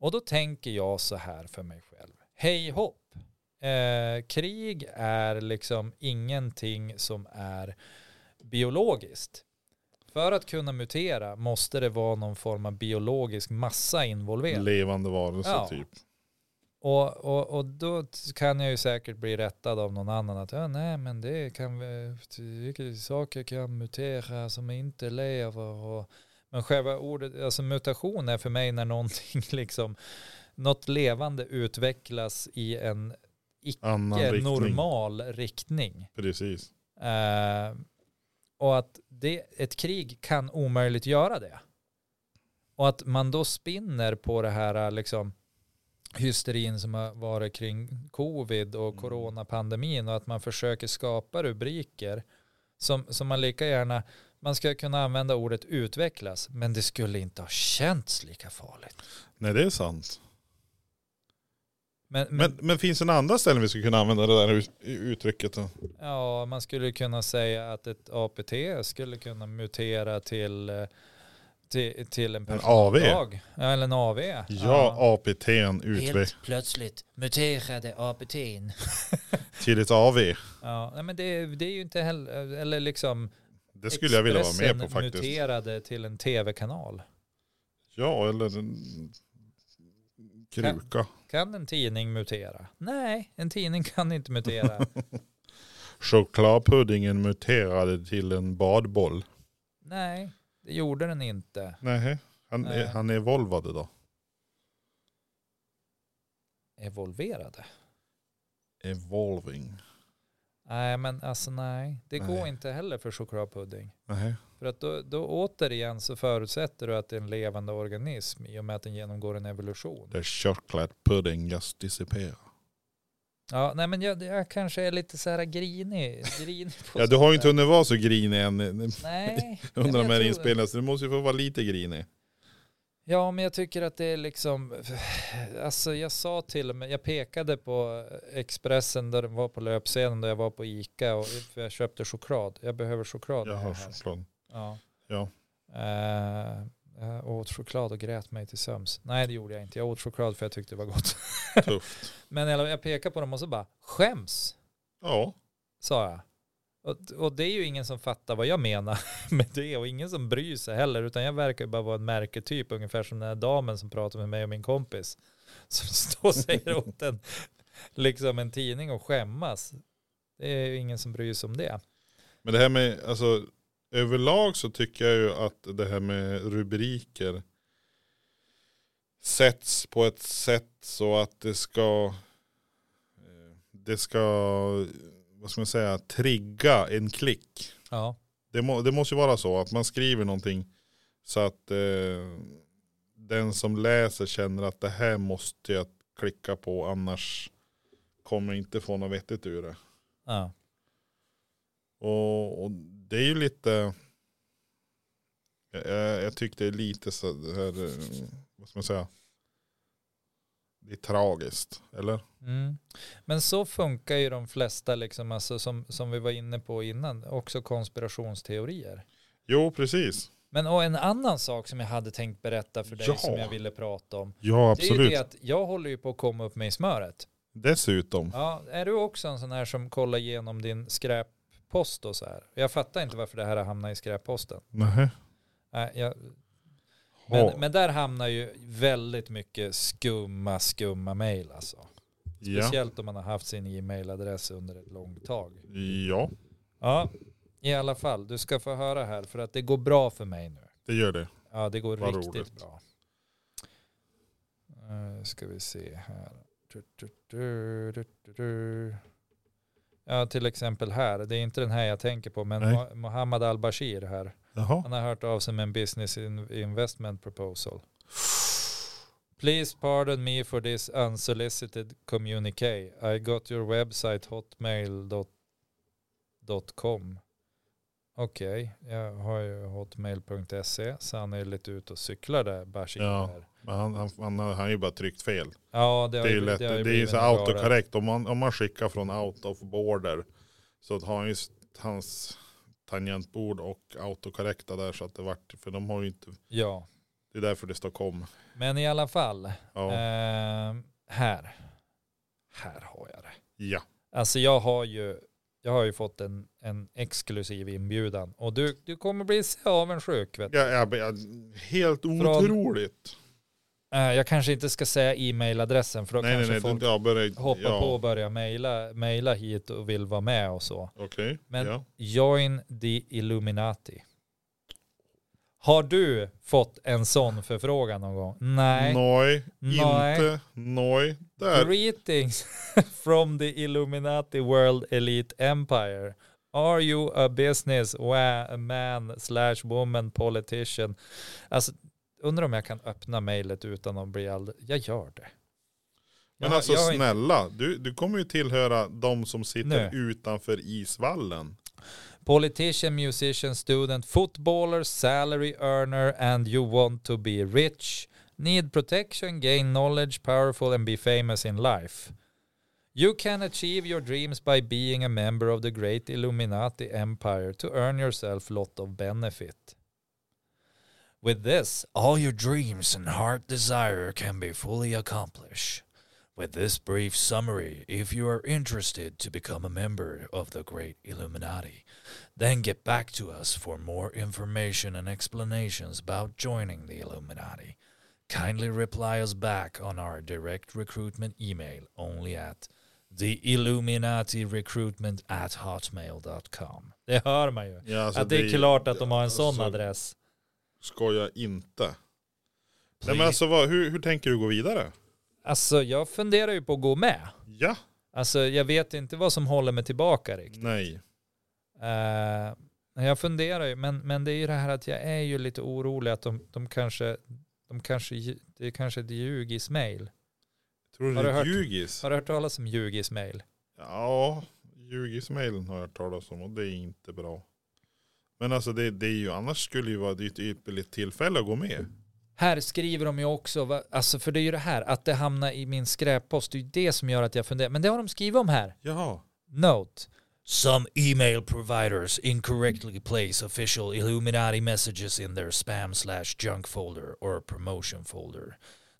A: Och då tänker jag så här för mig själv. Hej hopp. Eh, krig är liksom ingenting som är biologiskt. För att kunna mutera måste det vara någon form av biologisk massa involverad.
B: Levande varelse
A: Ja.
B: typ.
A: Och, och, och då t- kan jag ju säkert bli rättad av någon annan att ja, nej men det kan vi- t- saker kan mutera som inte lever. Och, men själva ordet, alltså mutation är för mig när någonting <laughs> liksom, något levande utvecklas i en
B: Annan
A: icke
B: riktning.
A: normal riktning.
B: Precis.
A: Eh, och att det, ett krig kan omöjligt göra det. Och att man då spinner på det här eh, liksom, hysterin som har varit kring covid och
B: Mm.
A: coronapandemin och att man försöker skapa rubriker som, som man lika gärna, man ska kunna använda ordet utvecklas, men det skulle inte ha känts lika farligt.
B: Nej det är sant.
A: Men, men,
B: Men, men finns det en andra ställen vi skulle kunna använda det där ut- uttrycket då?
A: ja, man skulle kunna säga att ett APT skulle kunna mutera till, eh, till, till en
B: En AV?
A: dag. Ja, eller en AV.
B: Ja, APT'n utvecklas
C: Helt plötsligt muterade APT'n.
B: till ett AV.
A: Ja, nej, men det, det är ju inte heller, eller liksom
B: Det skulle jag vilja vara med
A: Expressen
B: på faktiskt.
A: muterade till en tv-kanal.
B: Ja, eller en kruka.
A: Kan en tidning mutera? Nej, en tidning kan inte
B: <laughs>
A: mutera.
B: Chokladpuddingen muterade till en badboll.
A: Nej, det gjorde den inte.
B: Nej, han,
A: Nej.
B: Är, han är evolvad idag.
A: Evolverade?
B: Evolving.
A: Nej, men alltså nej. Det
B: Nej.
A: går inte heller för chokladpudding.
B: Nej.
A: För att då, då återigen så förutsätter du att det är en levande organism i och med att den genomgår en evolution.
B: The chocolate pudding just disappear.
A: Ja, nej men jag, jag kanske är lite så här grinig. grinig på
B: <laughs> Ja, du
A: sånt
B: har ju inte
A: där.
B: hunnit vara så grinig än eh, <laughs>
A: Nej.
B: under de
A: jag
B: här
A: tror-
B: inspelningarna, så du måste ju få vara lite grinig.
A: Ja, men jag tycker att det är liksom, <sighs> alltså jag sa till och med, jag pekade på Expressen där den var på löpsedeln där jag var på Ica och för jag köpte choklad. Jag behöver choklad.
B: Jag har
A: här.
B: choklad.
A: Ja.
B: Ja.
A: Eh, jag åt choklad och grät mig till söms. Nej, det gjorde jag inte. Jag åt choklad för jag tyckte det var gott.
B: Tufft.
A: Men jag, jag pekade på dem och så bara, skäms,
B: Ja,
A: sa jag. Och, och det är ju ingen som fattar vad jag menar <laughs> med det och ingen som bryr sig heller utan jag verkar ju bara vara en märketyp ungefär som den här damen som pratar med mig och min kompis <laughs> som står och säger åt en, liksom en tidning och skämmas. Det är ju ingen som bryr sig om det.
B: men det här med, alltså överlag så tycker jag ju att det här med rubriker sätts på ett sätt så att det ska, eh, det ska, vad ska man säga, trigga en klick.
A: Ja,
B: Det, må, det måste ju vara så att man skriver någonting så att eh, den som läser känner att det här måste jag klicka på annars kommer jag inte få något vettigt ur det.
A: ja.
B: Och, och det är ju lite, jag, jag- jag tycker det är lite så här, eh, vad ska man säga, det är tragiskt, eller?
A: Mm. Men så funkar ju de flesta, liksom, alltså, som, som vi var inne på innan, också konspirationsteorier.
B: Jo, precis.
A: Men och en annan sak som jag hade tänkt berätta för dig
B: Ja.
A: som jag ville prata om.
B: Ja,
A: Det är ju
B: absolut.
A: det att jag håller ju på att komma upp med i smöret.
B: Dessutom.
A: Ja, är du också en sån här som kollar igenom din skräppost och så här? Jag fattar inte varför det här har hamnat i skräpposten.
B: Nej.
A: Nej, jag, Men,
B: Ja.
A: men där hamnar ju väldigt mycket skumma, skumma mejl alltså.
B: Ja.
A: Speciellt om man har haft sin e-mailadress under ett långt tag.
B: ja,
A: Ja, i alla fall. Du ska få höra här för att det går bra för mig nu.
B: det gör det.
A: Ja, det går
B: Vad
A: riktigt
B: roligt.
A: bra. Eh, ska vi se här. Du, du, du, du, du, du. Ja, till exempel här. Det är inte den här jag tänker på, men
B: Nej.
A: Mo- Mohammed Al-Bashir här.
B: Jaha.
A: Han har hört av sig med en business in- investment proposal. Please pardon me for this unsolicited communique. I got your website hotmail.com. Okej, jag har ju hotmail.se så han är lite ute och cyklar där, Bashir.
B: Ja.
A: där.
B: Men han, han, han, han har ju bara tryckt fel.
A: ja det,
B: Det
A: har
B: är
A: ju,
B: ju lätt.
A: blivit- har ju
B: Det, är ju
A: blivit
B: så
A: en röra.
B: autokorrekt. Om man, om man skickar från out of border så har han ju s- hans tangentbord och autokorrekta där så att det vart, för de har ju inte,
A: Ja,
B: det är därför det står kom.
A: men i alla fall.
B: Ja.
A: ehm, här. Här har jag det.
B: ja.
A: Alltså jag har ju, jag har ju fått en, en exklusiv inbjudan och du, du kommer bli så avundsjuk. Vet du.
B: ja, ja, ja helt otroligt.
A: Eh, Jag kanske inte ska säga e-mailadressen för då
B: Nej, nej,
A: kanske
B: nej.
A: folk
B: du- Ja, börja,
A: hoppar
B: ja,
A: på och börjar mejla, mejla hit och vill vara med och så.
B: Okej.
A: Men-
B: Ja.
A: Join the Illuminati. Har du fått en sån förfrågan någon gång? Nej.
B: Nej,
A: Nej.
B: inte. Nej. Där.
A: Greetings <laughs> from the Illuminati World Elite Empire. Are you a business wa- man slash woman politician? Alltså, undrar om jag kan öppna mejlet utan att bli alldeles... Jag gör det.
B: Men
A: Jag-
B: alltså
A: jag har inte-
B: snälla, du, du kommer ju tillhöra de som
A: Nej.
B: sitter utanför isvallen.
A: Politician, musician, student, footballer, salary earner and you want to be rich. Need protection, gain knowledge, powerful and be famous in life. You can achieve your dreams by being a member of the great Illuminati empire to earn yourself lot of benefit.
C: With this, all your dreams and heart desire can be fully accomplished. With this brief summary, if you are interested to become a member of the Great Illuminati, then get back to us for more information and explanations about joining the Illuminati. Kindly reply us back on our direct recruitment email only at the Illuminati recruitment at hotmail.com.
A: Det hör man ju.
B: Ja, alltså,
A: typ. Att det är klart att de har en sån
B: alltså,
A: adress.
B: Skoja inte. Nej, men alltså, vad, hur, hur tänker du gå vidare?
A: Alltså jag funderar ju på att gå med.
B: Ja,
A: Alltså jag vet inte vad som håller mig tillbaka riktigt.
B: nej.
A: Eh, jag funderar ju, men, men det är ju det här att jag är ju lite orolig att de, de kanske, de kanske, lju- det är kanske ett ljugis-mail.
B: Tror du
A: Har
B: det
A: du
B: är
A: hört-
B: ljugis?
A: Har du hört talas om ljugis-mail?
B: Ja, ljugismailen har jag hört talas om och det är inte bra. Men alltså det, det är ju, annars skulle ju vara det är ett ypperligt tillfälle att gå med.
A: Här skriver de ju också, va- alltså för det är ju det här, att det hamnar i min skräppost, det är ju det som gör att jag funderar. Men det har de skrivit om här.
B: Jaha.
A: Note.
C: Some email providers incorrectly place official Illuminati messages in their spam slash junk folder or promotion folder.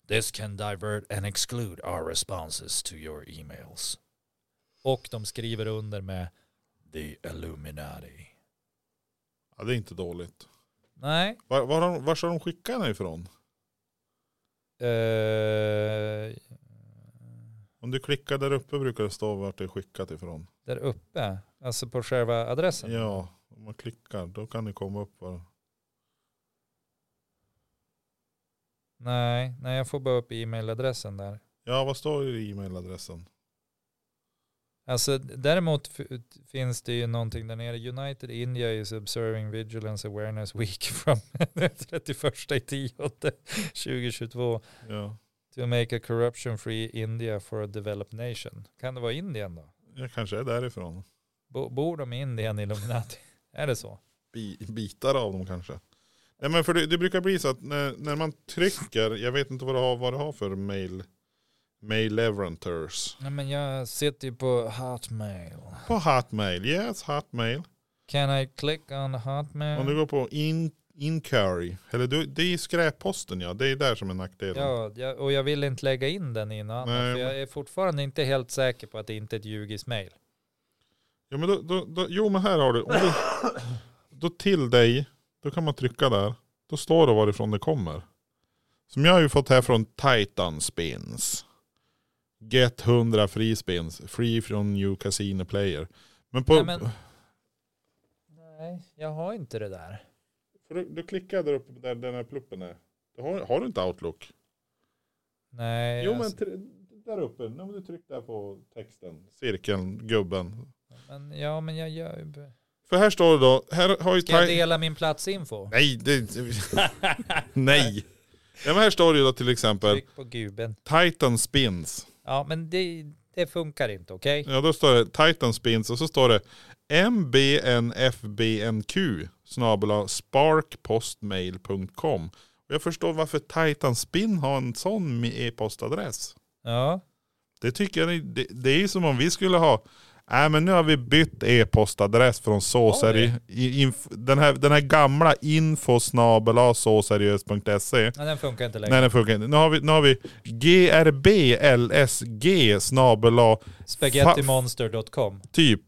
C: This can divert and exclude our responses to your emails.
A: Och de skriver under med,
C: The Illuminati.
B: Ja, det är inte dåligt.
A: nej,
B: Var, var, har de- var ska de skicka henne ifrån?
A: eh,
B: Om du klickar där uppe brukar det stå vart det är skickat ifrån.
A: där uppe, alltså på själva adressen.
B: Ja, om man klickar då kan det komma upp. Var.
A: Nej, nej, jag får bara upp e-mailadressen där.
B: Ja, vad står det i e-mailadressen?
A: Alltså däremot f- finns det ju någonting där nere. United India is observing vigilance awareness week <laughs> from <laughs> 31 i 10 2022
B: Ja,
A: to make a corruption free India for a developed nation. Kan det vara Indien då?
B: jag kanske är därifrån.
A: Bo- bor de i Indien Illuminati? är det så?
B: bi- bitar av dem kanske. Nej men för det, det brukar bli så att när, när man trycker, jag vet inte vad det har, vad det har för mail, mail leveranters.
A: Nej men jag sitter ju på Hotmail.
B: På hotmail, yes hotmail.
A: Can I click on
B: Om du
A: Hotmail?
B: går på in, inquiry, eller du, det är skräpposten ja, det är där som är nackdelen.
A: Ja, jag- och jag vill inte lägga in den i något
B: Nej,
A: annat. för Jag är fortfarande inte helt säker på att det inte är ett ljugis-mail.
B: Ja, men då, då, då, jo men här har du, om du, då till dig, då kan man trycka där, då står det varifrån det kommer. Som jag har ju fått här från Titan Spins. Get 100 free spins. Free från new casino player. Men på...
A: Nej, men- Nej, jag har inte det där.
B: Får Du, du klickar där uppe där den här pluppen är. Du har, har du inte Outlook?
A: Nej, alltså,
B: Jo
A: jag-
B: men tr- där uppe. Nu om du trycker där på texten. Cirkeln, gubben.
A: men, ja, men jag gör ju...
B: För här står det då. Här har ju
A: Ska jag
B: Ti-
A: dela min platsinfo?
B: Nej, det, nej. Ja, men här står det ju då till exempel
A: Tryck på guben.
B: Titan Spins.
A: Ja, men det, det funkar inte, okej?
B: Ja, då står det Titan Spins och så står det mbnfbnq snabel-a sparkpostmail.com. Och Jag förstår varför Titan Spin har en sån e-postadress.
A: Ja.
B: Det tycker jag, ni- det, det är ju som om vi skulle ha, nej men nu har vi bytt e-postadress från så
A: Har vi?
B: seri- i- inf- den, här, den här gamla info snabel-a såseriös.se.
A: ja, den funkar inte längre.
B: Nej den funkar inte. Nu har vi, nu har vi grblsg snabel-a
A: Spaghettimonster.com.
B: typ.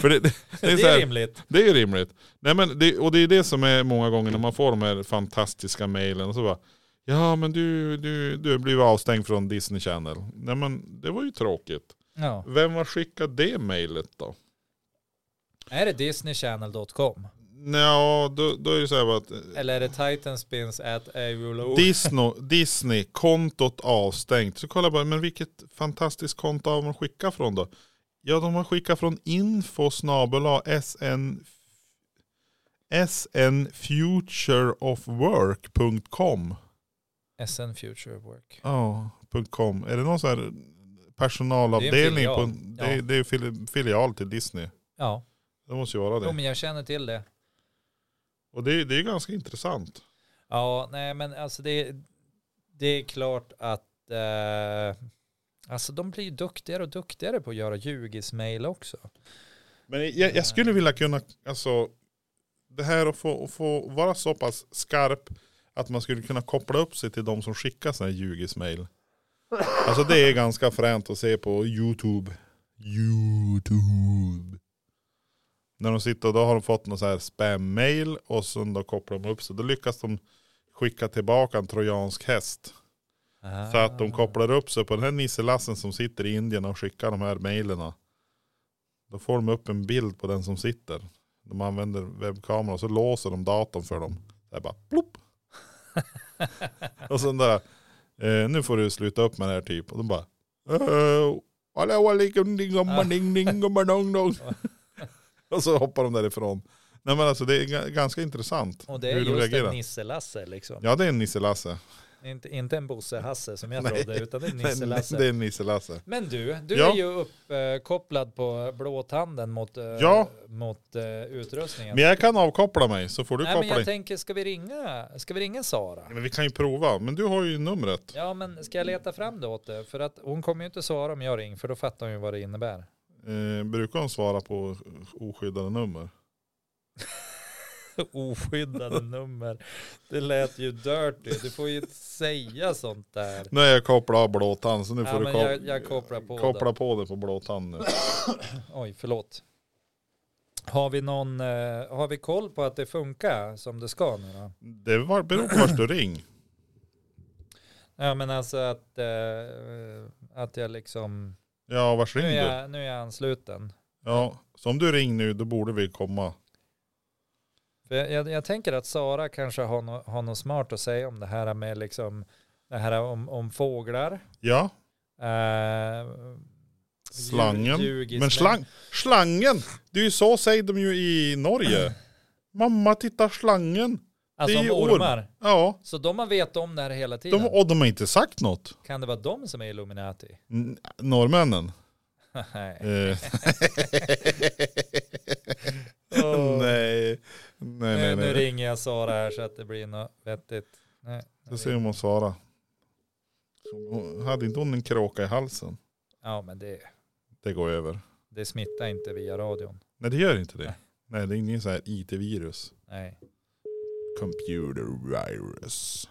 B: För det, det,
A: Det
B: det är,
A: är,
B: så här,
A: rimligt.
B: det är ju rimligt. Nej, men det, och det är det som är många gånger när man får de här fantastiska mejlen och så bara Ja men du, du, du blev avstängd från Disney Channel. Nej men det var ju tråkigt.
A: Ja.
B: Vem har skickat det mejlet då?
A: Är det disneychannel.com?
B: Nja, då, då är det så här bara att eh,
A: Eller är det titanspins at a
B: <laughs> Disney, Disney, kontot avstängt. Så kolla bara, men vilket fantastiskt konto har de skickat från då? Ja de har skickat från info snabel-a sn snfutureofwork.com
A: SN Future of Work.
B: Ja, .com. Är det någon sån här
A: Det
B: personalavdelning?
A: är en
B: på
A: filial.
B: en- Det är,
A: Ja.
B: det är ju fili- filial till Disney.
A: Ja,
B: Det måste ju vara
A: jo,
B: det.
A: men jag känner till det.
B: Och det, är- det är ju ganska intressant.
A: Ja, nej men alltså det, det är klart att eh, alltså de blir ju duktigare och duktigare på att göra ljugismail också.
B: Men jag, jag skulle vilja kunna, alltså, det här att få, att få vara så pass skarp att man skulle kunna koppla upp sig till de som skickar sådana här ljugismail. Alltså det är ganska fränt att se på YouTube. YouTube. När de sitter och då har de fått någon så här spam-mail och sen då kopplar de upp sig. Då lyckas de skicka tillbaka en trojansk häst. Så att de kopplar upp sig på den här nisselassen som sitter i Indien och skickar de här mejlen. Då får de upp en bild på den som sitter. De använder webbkamera och så låser de datorn för dem. Det är bara
A: <laughs>
B: plopp. och sen där, eh, nu får du sluta upp med det här typ. Och de bara, eh, alla var lika ding om man ding ding om man
A: <laughs>
B: dong dong. Och så hoppar de därifrån. Nej men alltså det är ga- ganska intressant.
A: Och det är
B: hur de
A: just
B: reagerar.
A: en Nisse-Lasse liksom.
B: Ja det är en Nisse-Lasse.
A: Inte, inte en Bosse-Hasse som jag
B: <laughs> Nej.
A: trodde, utan en Nisse-Lasse.
B: Det är en Nisse-Lasse.
A: Men du, du
B: Ja.
A: är ju uppkopplad på blåtanden mot, eh,
B: Ja.
A: mot eh, utrustningen.
B: Men jag kan avkoppla mig så får du
A: Nej, men
B: koppla
A: jag
B: dig.
A: tänker, ska vi ringa, ska vi ringa Sara?
B: Men vi kan ju prova. Men du har ju numret.
A: Ja, men ska jag leta fram det åt dig? För att hon kommer ju inte svara om jag ringer, för då fattar hon ju vad det innebär. <laughs>
B: Eh, brukar hon svara på oskyddade nummer?
A: Oskyddade nummer. Det lät ju dirty. Du får ju inte säga sånt där.
B: Nu är jag kopplad av blåtand så nu
A: Ja,
B: får du
A: men
B: kop-
A: jag- jag kopplar på
B: koppla på det på blåtand nu.
A: Oj, förlåt. Har vi, någon, eh, har vi koll på att det funkar som det ska nu då?
B: Det var, beror på vart du ring.
A: Ja, men alltså att, eh, att jag liksom...
B: Ja, vars
A: Nu
B: ring
A: är
B: du?
A: jag, nu är jag ansluten.
B: Ja, så om du ring nu då borde vi komma.
A: För jag, jag, jag tänker att Sara kanske har, no, har något smart att säga om det här med liksom, det här om, om fåglar.
B: Ja,
A: Eh,
B: slangen.
A: ljug- ljugis-
B: Men slang, slangen! Det är ju så säger de ju i Norge. <clears throat> Mamma titta slangen.
A: Alltså
B: det är
A: om
B: ju orm.
A: ormar.
B: Ja,
A: Så de har vetat om det här hela tiden.
B: de, och de har inte sagt något.
A: Kan det vara de som är Illuminati? <laughs>
B: N- Norrmännen.
A: Nej.
B: Eh. <laughs>
A: Åh.
B: nej, nej, nej.
A: Nu, nu
B: nej.
A: ringer jag Sara här så att det blir något vettigt. Nej,
B: Ska se om hon svarar. Hon- Hade inte hon en kråka i halsen?
A: Ja men det,
B: Det går över.
A: det smittar inte via radion.
B: Nej det gör inte det. Nej det är ingen så här IT-virus.
A: Nej.
B: Computer virus.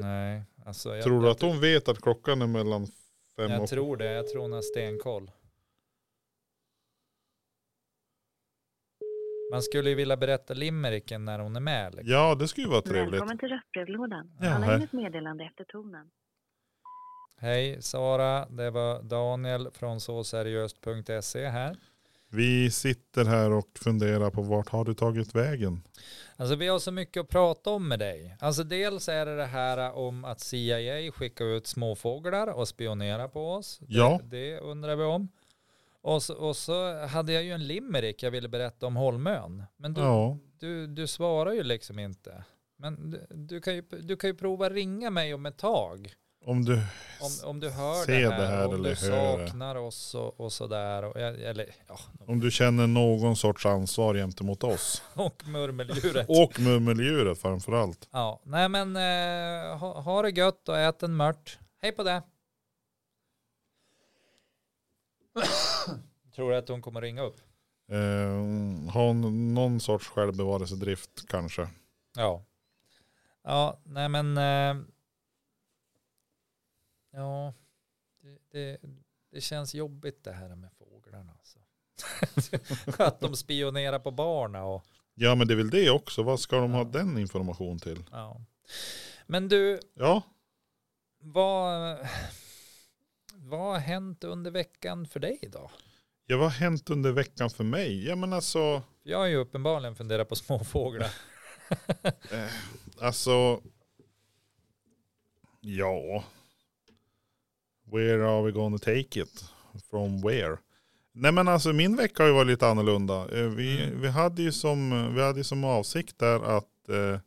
A: Nej. Alltså, jag,
B: Tror du
A: jag,
B: att hon vet att klockan är mellan fem
A: Jag
B: och...
A: tror det. Jag tror hon har stenkoll. Man skulle ju vilja berätta limericken när hon är med. Liksom.
B: Ja, det skulle ju vara trevligt.
D: Välkommen till röstbrevlådan.
B: Ja,
D: Alla
B: här.
D: in ett meddelande efter tonen.
A: Hej Sara, det var Daniel från såseriöst.se E här.
B: Vi sitter här och funderar på vart har du tagit vägen?
A: Alltså vi har så mycket att prata om med dig. Alltså dels är det det här om att CIA skickar ut småfåglar och spionerar på oss. Det,
B: Ja.
A: Det undrar vi om. Och så, och så hade jag ju en limerick jag ville berätta om Holmön. Men du,
B: Ja,
A: du, du svarar ju liksom inte. Men du, du, kan ju, du kan ju prova ringa mig om ett tag.
B: om du...
A: Om, om du hör
B: Se
A: det
B: det
A: här,
B: här
A: om
B: eller
A: du
B: hör det.
A: saknar oss och, och sådär. Och, jag- eller ja, <laughs>
B: Om du känner någon sorts ansvar gentemot oss.
A: och murmeldjuret.
B: Och mummeldjuret framförallt.
A: Ja, nej men eh, ha, ha det gött och ät en mört. Hej på det. Tror du att hon kommer ringa upp?
B: Eh, har någon sorts självbevarelsedrift kanske.
A: Ja. Ja, nej men. Eh, ja, det, det, det känns jobbigt det här med fåglarna. Alltså. <laughs> att de spionerar på barna och
B: Ja men det är väl det också. Vad ska de ha den information till?
A: ja. Men du,
B: Ja,
A: vad, vad har hänt under veckan för dig då?
B: ja vad har hänt under veckan för mig? Ja men alltså.
A: Jag har ju uppenbarligen funderat på småfåglar.
B: Eh, alltså. Ja. Where are we gonna take it? From where? Nej men alltså min vecka har ju varit lite annorlunda. Eh, Vi, vi, hade, ju som, vi hade ju som avsikt där att eh,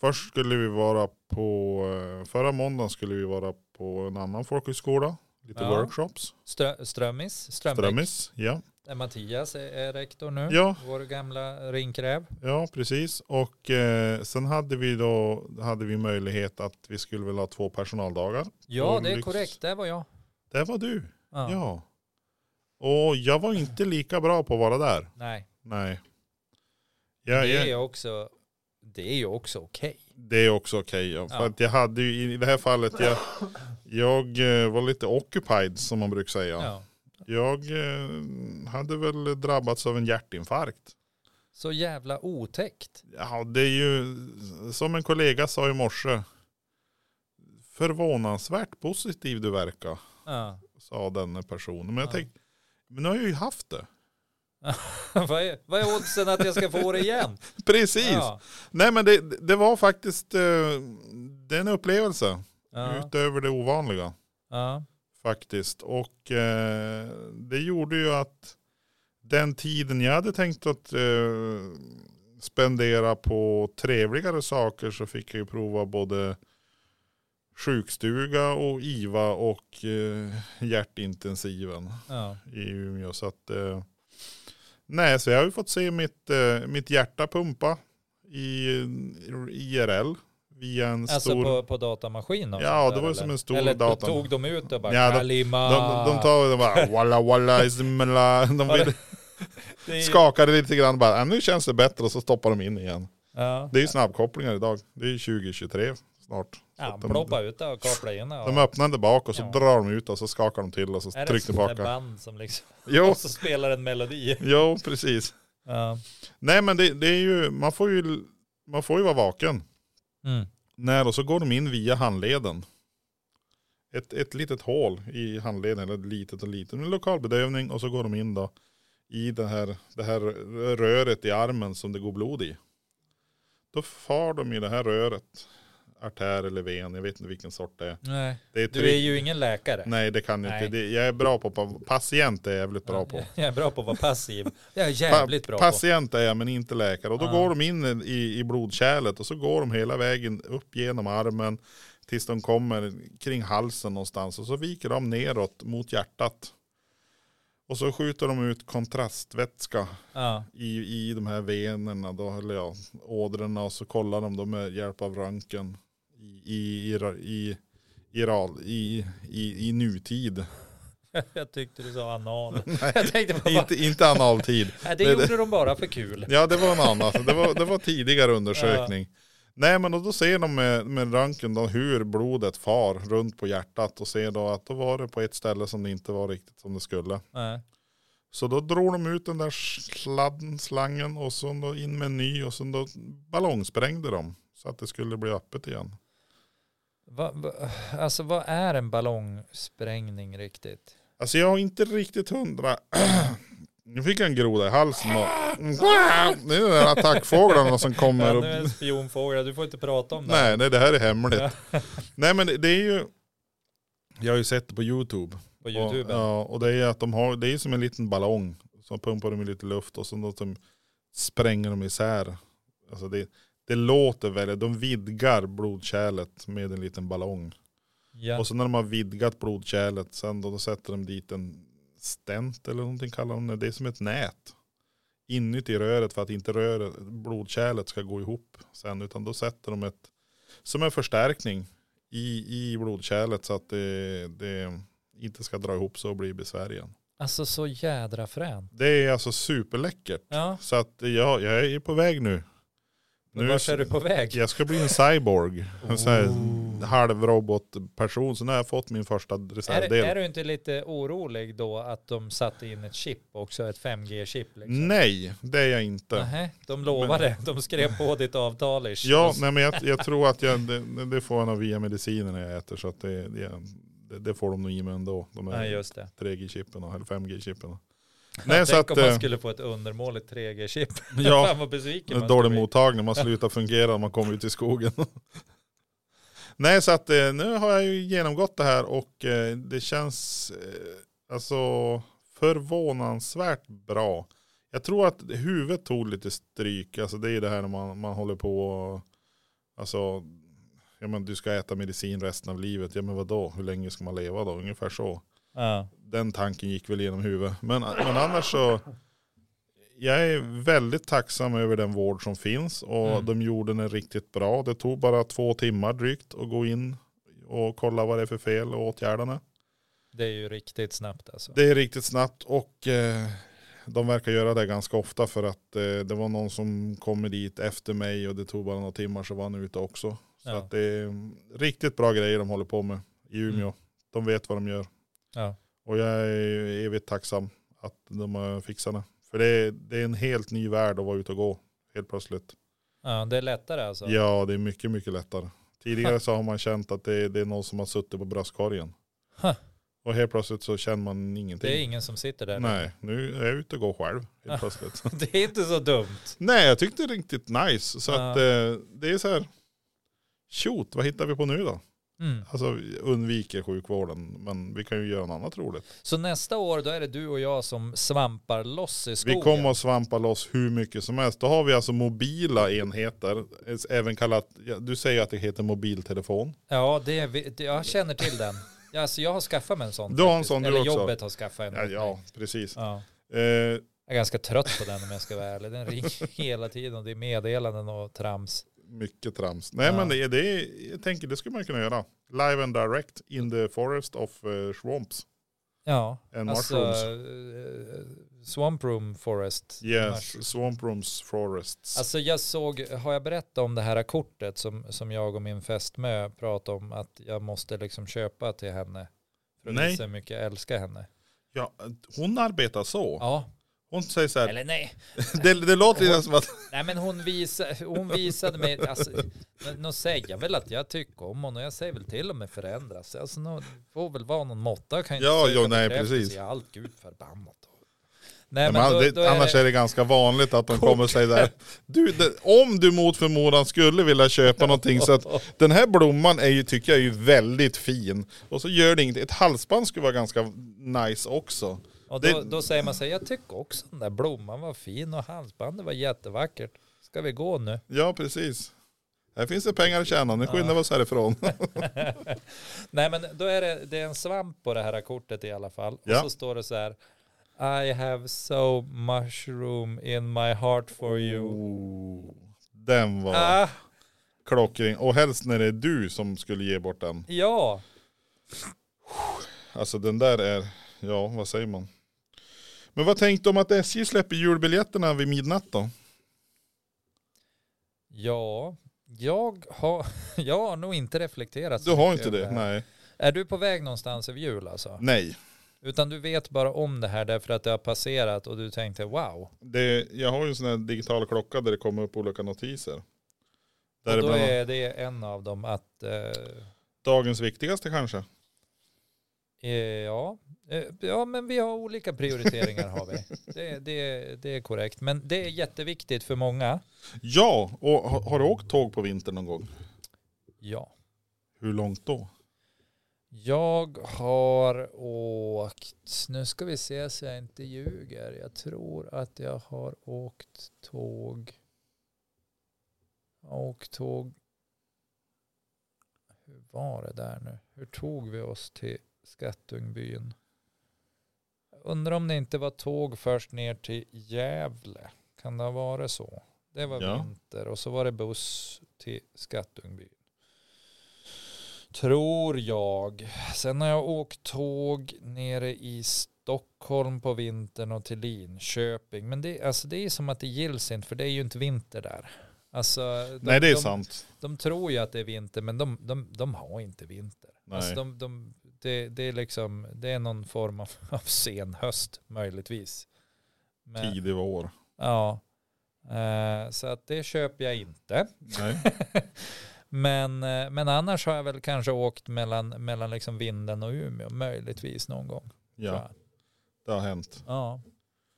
B: först skulle vi vara på, eh, förra måndagen skulle vi vara på en annan folkhögskola. Lite
A: Ja.
B: workshops.
A: Strö, Strömmis, Strömbäck.
B: Strömmis. Ja.
A: Där Mattias eh, är, är rektor nu.
B: ja,
A: Vår gamla ringkräv.
B: Ja, precis. Och eh, sen hade vi då hade vi möjlighet att vi skulle väl ha två personaldagar.
A: Ja,
B: Och
A: det är
B: lyx.
A: korrekt. Där var jag.
B: Det var du.
A: Ja.
B: Ja. Och jag var inte lika bra på att vara där.
A: Nej,
B: Nej. Ja,
A: det
B: ja,
A: är också, det är ju också okej.
B: det är också okej. ja. För
A: Ja.
B: att jag hade ju i det här fallet, jag, jag eh, var lite occupied som man brukar säga.
A: Ja.
B: Jag eh, hade väl drabbats av en hjärtinfarkt.
A: Så jävla otäckt.
B: Ja, det är ju som en kollega sa i morse. Förvånansvärt positiv du verkar,
A: Ja. <laughs>
B: sa denna personen. Men jag
A: Ja.
B: tänkte, men nu har jag ju haft det.
A: vad, är, vad är oddsen att jag ska få det igen?
B: <laughs> Precis.
A: Ja.
B: Nej men det, det var faktiskt, eh, det är en upplevelse
A: Ja.
B: utöver det ovanliga
A: Ja.
B: faktiskt. Och eh, det gjorde ju att den tiden jag hade tänkt att eh, spendera på trevligare saker så fick jag ju prova både sjukstuga och IVA och eh, hjärtintensiven
A: Ja.
B: i Umeå. Så att, eh, nej, så jag har ju fått se mitt, eh, mitt hjärta pumpa i IRL via en
A: Alltså
B: stor...
A: på, på datamaskinen? och
B: Ja,
A: sånt
B: det
A: där,
B: var ju
A: eller?
B: som en stor
A: eller
B: datan.
A: tog de ut och bara
B: Ja, de-
A: Kalima.
B: De, de tar
A: <laughs>
B: och bara walla walla ismela. De
A: Var det-
B: vill,
A: Det är ju-
B: skakade lite grann bara, "Ah, nu känns det bättre och så stoppar de in igen.
A: Ja.
B: Det är ju snabbkopplingar idag. Det är ju 2023 snart.
A: Ja,
B: de-
A: ploppa ut det och kapla in det.
B: De öppnade bak och så
A: Ja.
B: drar de ut och så skakar de till och så
A: Är det
B: trycker
A: ett sånt där
B: tillbaka.
A: band som liksom, <laughs>
B: Jo,
A: och så spelar en melodi?
B: jo, precis.
A: Ja.
B: Nej men det, det är ju, man får ju, man får ju vara vaken.
A: Mm.
B: När och så går de in via handleden. Ett, ett litet hål i handleden, eller ett litet och litet, men lokalbedövning och så går de in då i det här, det här röret i armen som det går blod i. Då far de i det här röret, artär eller ven, jag vet inte vilken sort det är.
A: Nej.
B: Det är
A: Du
B: tryck-
A: är ju ingen läkare.
B: Nej det kan jag
A: Nej.
B: inte, det, jag är bra på, pa- patient är jag jävligt bra på.
A: <laughs> Jag är bra på att vara passiv. <laughs> Jag är jävligt bra på.
B: Patient är jag men inte läkare. Och då
A: Ja.
B: går de in i, i blodkärlet och så går de hela vägen upp genom armen tills de kommer kring halsen någonstans. Och så viker de neråt mot hjärtat. Och så skjuter de ut kontrastvätska
A: Ja.
B: i, i de här venerna, då, eller ja, ådrorna. Och så kollar de då med hjälp av röntgen i, i, i, i, i, ral- i, i,
A: <laughs>
B: i nutid.
A: Jag tyckte du sa <laughs> anal. Jag tänkte bara,
B: inte, inte analtid.
A: nej, det
B: det-
A: gjorde de bara för kul.
B: Ja det var något annat. Det var, det var tidigare undersökning. Nej men och då ser de med, med röntgen då hur blodet far runt på hjärtat och ser då att då var det på ett ställe som det inte var riktigt som det skulle.
A: Nej.
B: Så då drog de ut den där sladden, slangen och så då in med en ny och så då ballongsprängde de. Så att det skulle bli öppet igen.
A: Va, va, alltså vad är en ballongsprängning riktigt?
B: Alltså jag har inte riktigt hundra. <clears throat> Nu fick jag en groda i halsen och det är de där attackfåglarna som kommer
A: Ja,
B: och
A: nu är det spionfåglar, du får inte prata om det.
B: Nej, nej det här är hemligt. <laughs> nej men det, det är ju, jag har ju sett det på YouTube.
A: På YouTube.
B: Och, ja, och det är att de har, det är som en liten ballong. Så pumpar de i lite luft och så då de spränger de isär. Alltså det, det låter väldigt, de vidgar blodkärlet med en liten ballong.
A: Ja.
B: Och så när de har vidgat blodkärlet sen då, då sätter de dit en stent eller någonting kallar de det. Det är som ett nät. Inuti röret för att inte röret, blodkärlet ska gå ihop sen. Utan då sätter de ett, som en förstärkning i, i blodkärlet så att det, det inte ska dra ihop sig och bli besvär igen.
A: Alltså så jädra fränt.
B: Det är alltså superläckert.
A: Ja,
B: Så att jag, jag är på väg nu.
A: men
B: Nu
A: vart är
B: så-
A: du på väg?
B: jag ska bli en cyborg. En sån här halvrobotperson. Så nu har jag fått min första
A: Är, är
B: reservdel.
A: du inte lite orolig då att de satte in ett chip också, ett 5G-chip? Liksom?
B: Nej, det är jag inte.
A: Nähä, de lovade, de skrev på ditt avtal ish.
B: Ja, nej, men jag, jag tror att jag, det, det får jag nog via medicinerna jag äter. Så att det, det, det får de nog i mig ändå. De
A: Nej,
B: här
A: just det.
B: 3G-chippen eller 5G-chippen.
A: Nej,
B: Nej, så
A: Tänk
B: att
A: om man
B: eh,
A: skulle få ett undermåligt 3G-chip.
B: ja,
A: Fan vad besviken man
B: dålig
A: skulle bli.
B: mottagning. Man slutar fungera när man kommer ut i skogen. <laughs> Nej, så att eh, nu har jag ju genomgått det här och eh, det känns eh, alltså förvånansvärt bra. Jag tror att huvudet tog lite stryk. Alltså det är det här när man, man håller på och, alltså ja, men du ska äta medicin resten av livet. Ja men vadå, hur länge ska man leva då? Ungefär så.
A: Ja.
B: Den tanken gick väl genom huvudet. Men, men annars så jag är väldigt tacksam över den vård som finns och
A: Mm.
B: de gjorde den riktigt bra. Det tog bara två timmar drygt att gå in och kolla vad det är för fel och åtgärda det.
A: Det är ju riktigt snabbt alltså.
B: Det är riktigt snabbt och eh, de verkar göra det ganska ofta för att eh, det var någon som kommer dit efter mig och det tog bara några timmar så var han ute också. Så
A: Ja.
B: att det är mm, riktigt bra grejer de håller på med i Umeå.
A: Mm.
B: De vet vad de gör.
A: Ja.
B: Och jag är evigt tacksam att de har fixat det. För det är, det är en helt ny värld att vara ute och gå helt plötsligt.
A: Ja, det är lättare alltså.
B: Ja, det är mycket, mycket lättare. Tidigare så har man känt att det är, det är någon som har suttit på bröstkorgen.
A: Huh.
B: Och helt plötsligt så känner man ingenting.
A: Det är ingen som sitter där.
B: Nej, nu är jag ute och går själv helt plötsligt.
A: <laughs> Det är inte så dumt.
B: <laughs> Nej, jag tyckte det var riktigt nice. Så
A: Ja.
B: att eh, det är så här, shoot, vad hittar vi på nu då?
A: Mm.
B: Alltså vi undviker sjukvården, men vi kan ju göra något annat roligt.
A: Så nästa år då är det du och jag som svampar loss i skogen.
B: Vi kommer att svampa loss hur mycket som helst. Då har vi alltså mobila enheter, även kallat, ja, du säger att det heter mobiltelefon.
A: Ja, det är, vi- det- jag känner till den. Ja, Alltså jag har skaffat mig en sån.
B: Du har en
A: faktiskt.
B: sån du
A: Eller
B: också.
A: jobbet har skaffat en.
B: Ja,
A: åt mig.
B: ja precis.
A: ja.
B: Eh,
A: Jag är ganska trött på den om jag ska vara ärlig. Den ringer <laughs> hela tiden och det är meddelanden och trams.
B: Mycket trams. Nej
A: Ja.
B: men det, är- det, är- jag tänker det skulle man kunna göra. Live and direct in the forest of eh, swamps
A: Ja,
B: and
A: alltså
B: mushrooms.
A: eh, Swamp Room Forest. Mush-
B: Yes, swamp rooms forests.
A: Alltså jag såg, har jag berättat om det här kortet som, som jag och min fästmö pratade om att jag måste liksom köpa till henne? För att
B: Nej.
A: visa hur mycket jag älskar henne.
B: ja, hon arbetar så.
A: Ja,
B: Hon säger så här,
A: eller nej.
B: det, det låter lite som att
A: Nej men hon, visa, hon visade mig, alltså, men nu säger jag väl att jag tycker om honom och jag säger väl till och med förändras. Alltså nu får väl vara någon måtta. Jag kan ju
B: Ja,
A: inte söka
B: jo, nej,
A: bekräftelse
B: precis.
A: i allt gud förbannat.
B: Nej,
A: Nej,
B: men,
A: då-
B: det,
A: då är
B: annars
A: det-
B: är det ganska vanligt att de
A: Kort.
B: kommer och säger där. Du, det, om du mot förmodan skulle vilja köpa någonting så att den här blomman är ju, tycker jag är ju väldigt fin. Och så gör det inget. Ett halsband skulle vara ganska nice också.
A: Och då,
B: det-
A: då säger man så här, jag tycker också den där blomman var fin och halsbandet var jättevackert. Ska vi gå nu?
B: Ja, precis. Här finns det pengar att tjäna, nu skyndar vi oss härifrån.
A: Nej men då är det, det är en svamp på det här kortet i alla fall.
B: Ja.
A: Och så står det så här. I have so mushroom in my heart for you.
B: <laughs> Den var
A: Ah,
B: klockren. Och helst när det är du som skulle ge bort den.
A: ja,
B: Alltså den där är, ja vad säger man? Men vad tänkte om att SJ släpper julbiljetterna vid midnatt då?
A: ja, jag har, <laughs> jag har nog inte reflekterat. så
B: Du har
A: mycket
B: inte
A: över
B: det?
A: här.
B: Nej.
A: Är du på väg någonstans över jul alltså?
B: Nej.
A: Utan du vet bara om det här därför att det har passerat och du tänkte wow.
B: Det, jag har ju en sån här digital klocka där det kommer upp olika notiser. Där
A: Och
B: är
A: då
B: bland annat
A: är det en av dem att, eh,
B: dagens viktigaste kanske.
A: eh, ja, eh, ja men vi har olika prioriteringar har vi.
B: <laughs>
A: Det, det, det är korrekt. Men det är jätteviktigt för många.
B: Ja, och har, har du åkt tåg på vintern någon gång?
A: Ja.
B: Hur långt då?
A: Jag har åkt, nu ska vi se så jag inte ljuger. Jag tror att jag har åkt tåg. Jag har åkt tåg. Hur var det där nu? Hur tog vi oss till Skattungbyn? Jag Undrar om det inte var tåg först ner till Gävle. Kan det ha varit så? Det var
B: Ja.
A: vinter och så var det buss till Skattungbyn. Tror jag. Sen har jag åkt tåg nere i Stockholm på vintern och till Linköping. Men det, alltså det är som att det gills inte för det är ju inte vinter där. Alltså, de,
B: Nej det är
A: de,
B: sant.
A: De tror ju att det är vinter men de, de, de har inte vinter.
B: Nej.
A: Alltså de, de, det, det, är liksom, det är någon form av, <laughs> av sen höst möjligtvis. Men,
B: Tidig vår.
A: Ja. Eh, så att det köper jag inte. <laughs>
B: Nej.
A: Men, eh, men annars har jag väl kanske åkt mellan, mellan liksom vinden och Umeå, möjligtvis någon gång. tror
B: Ja,
A: jag.
B: det har hänt.
A: ja.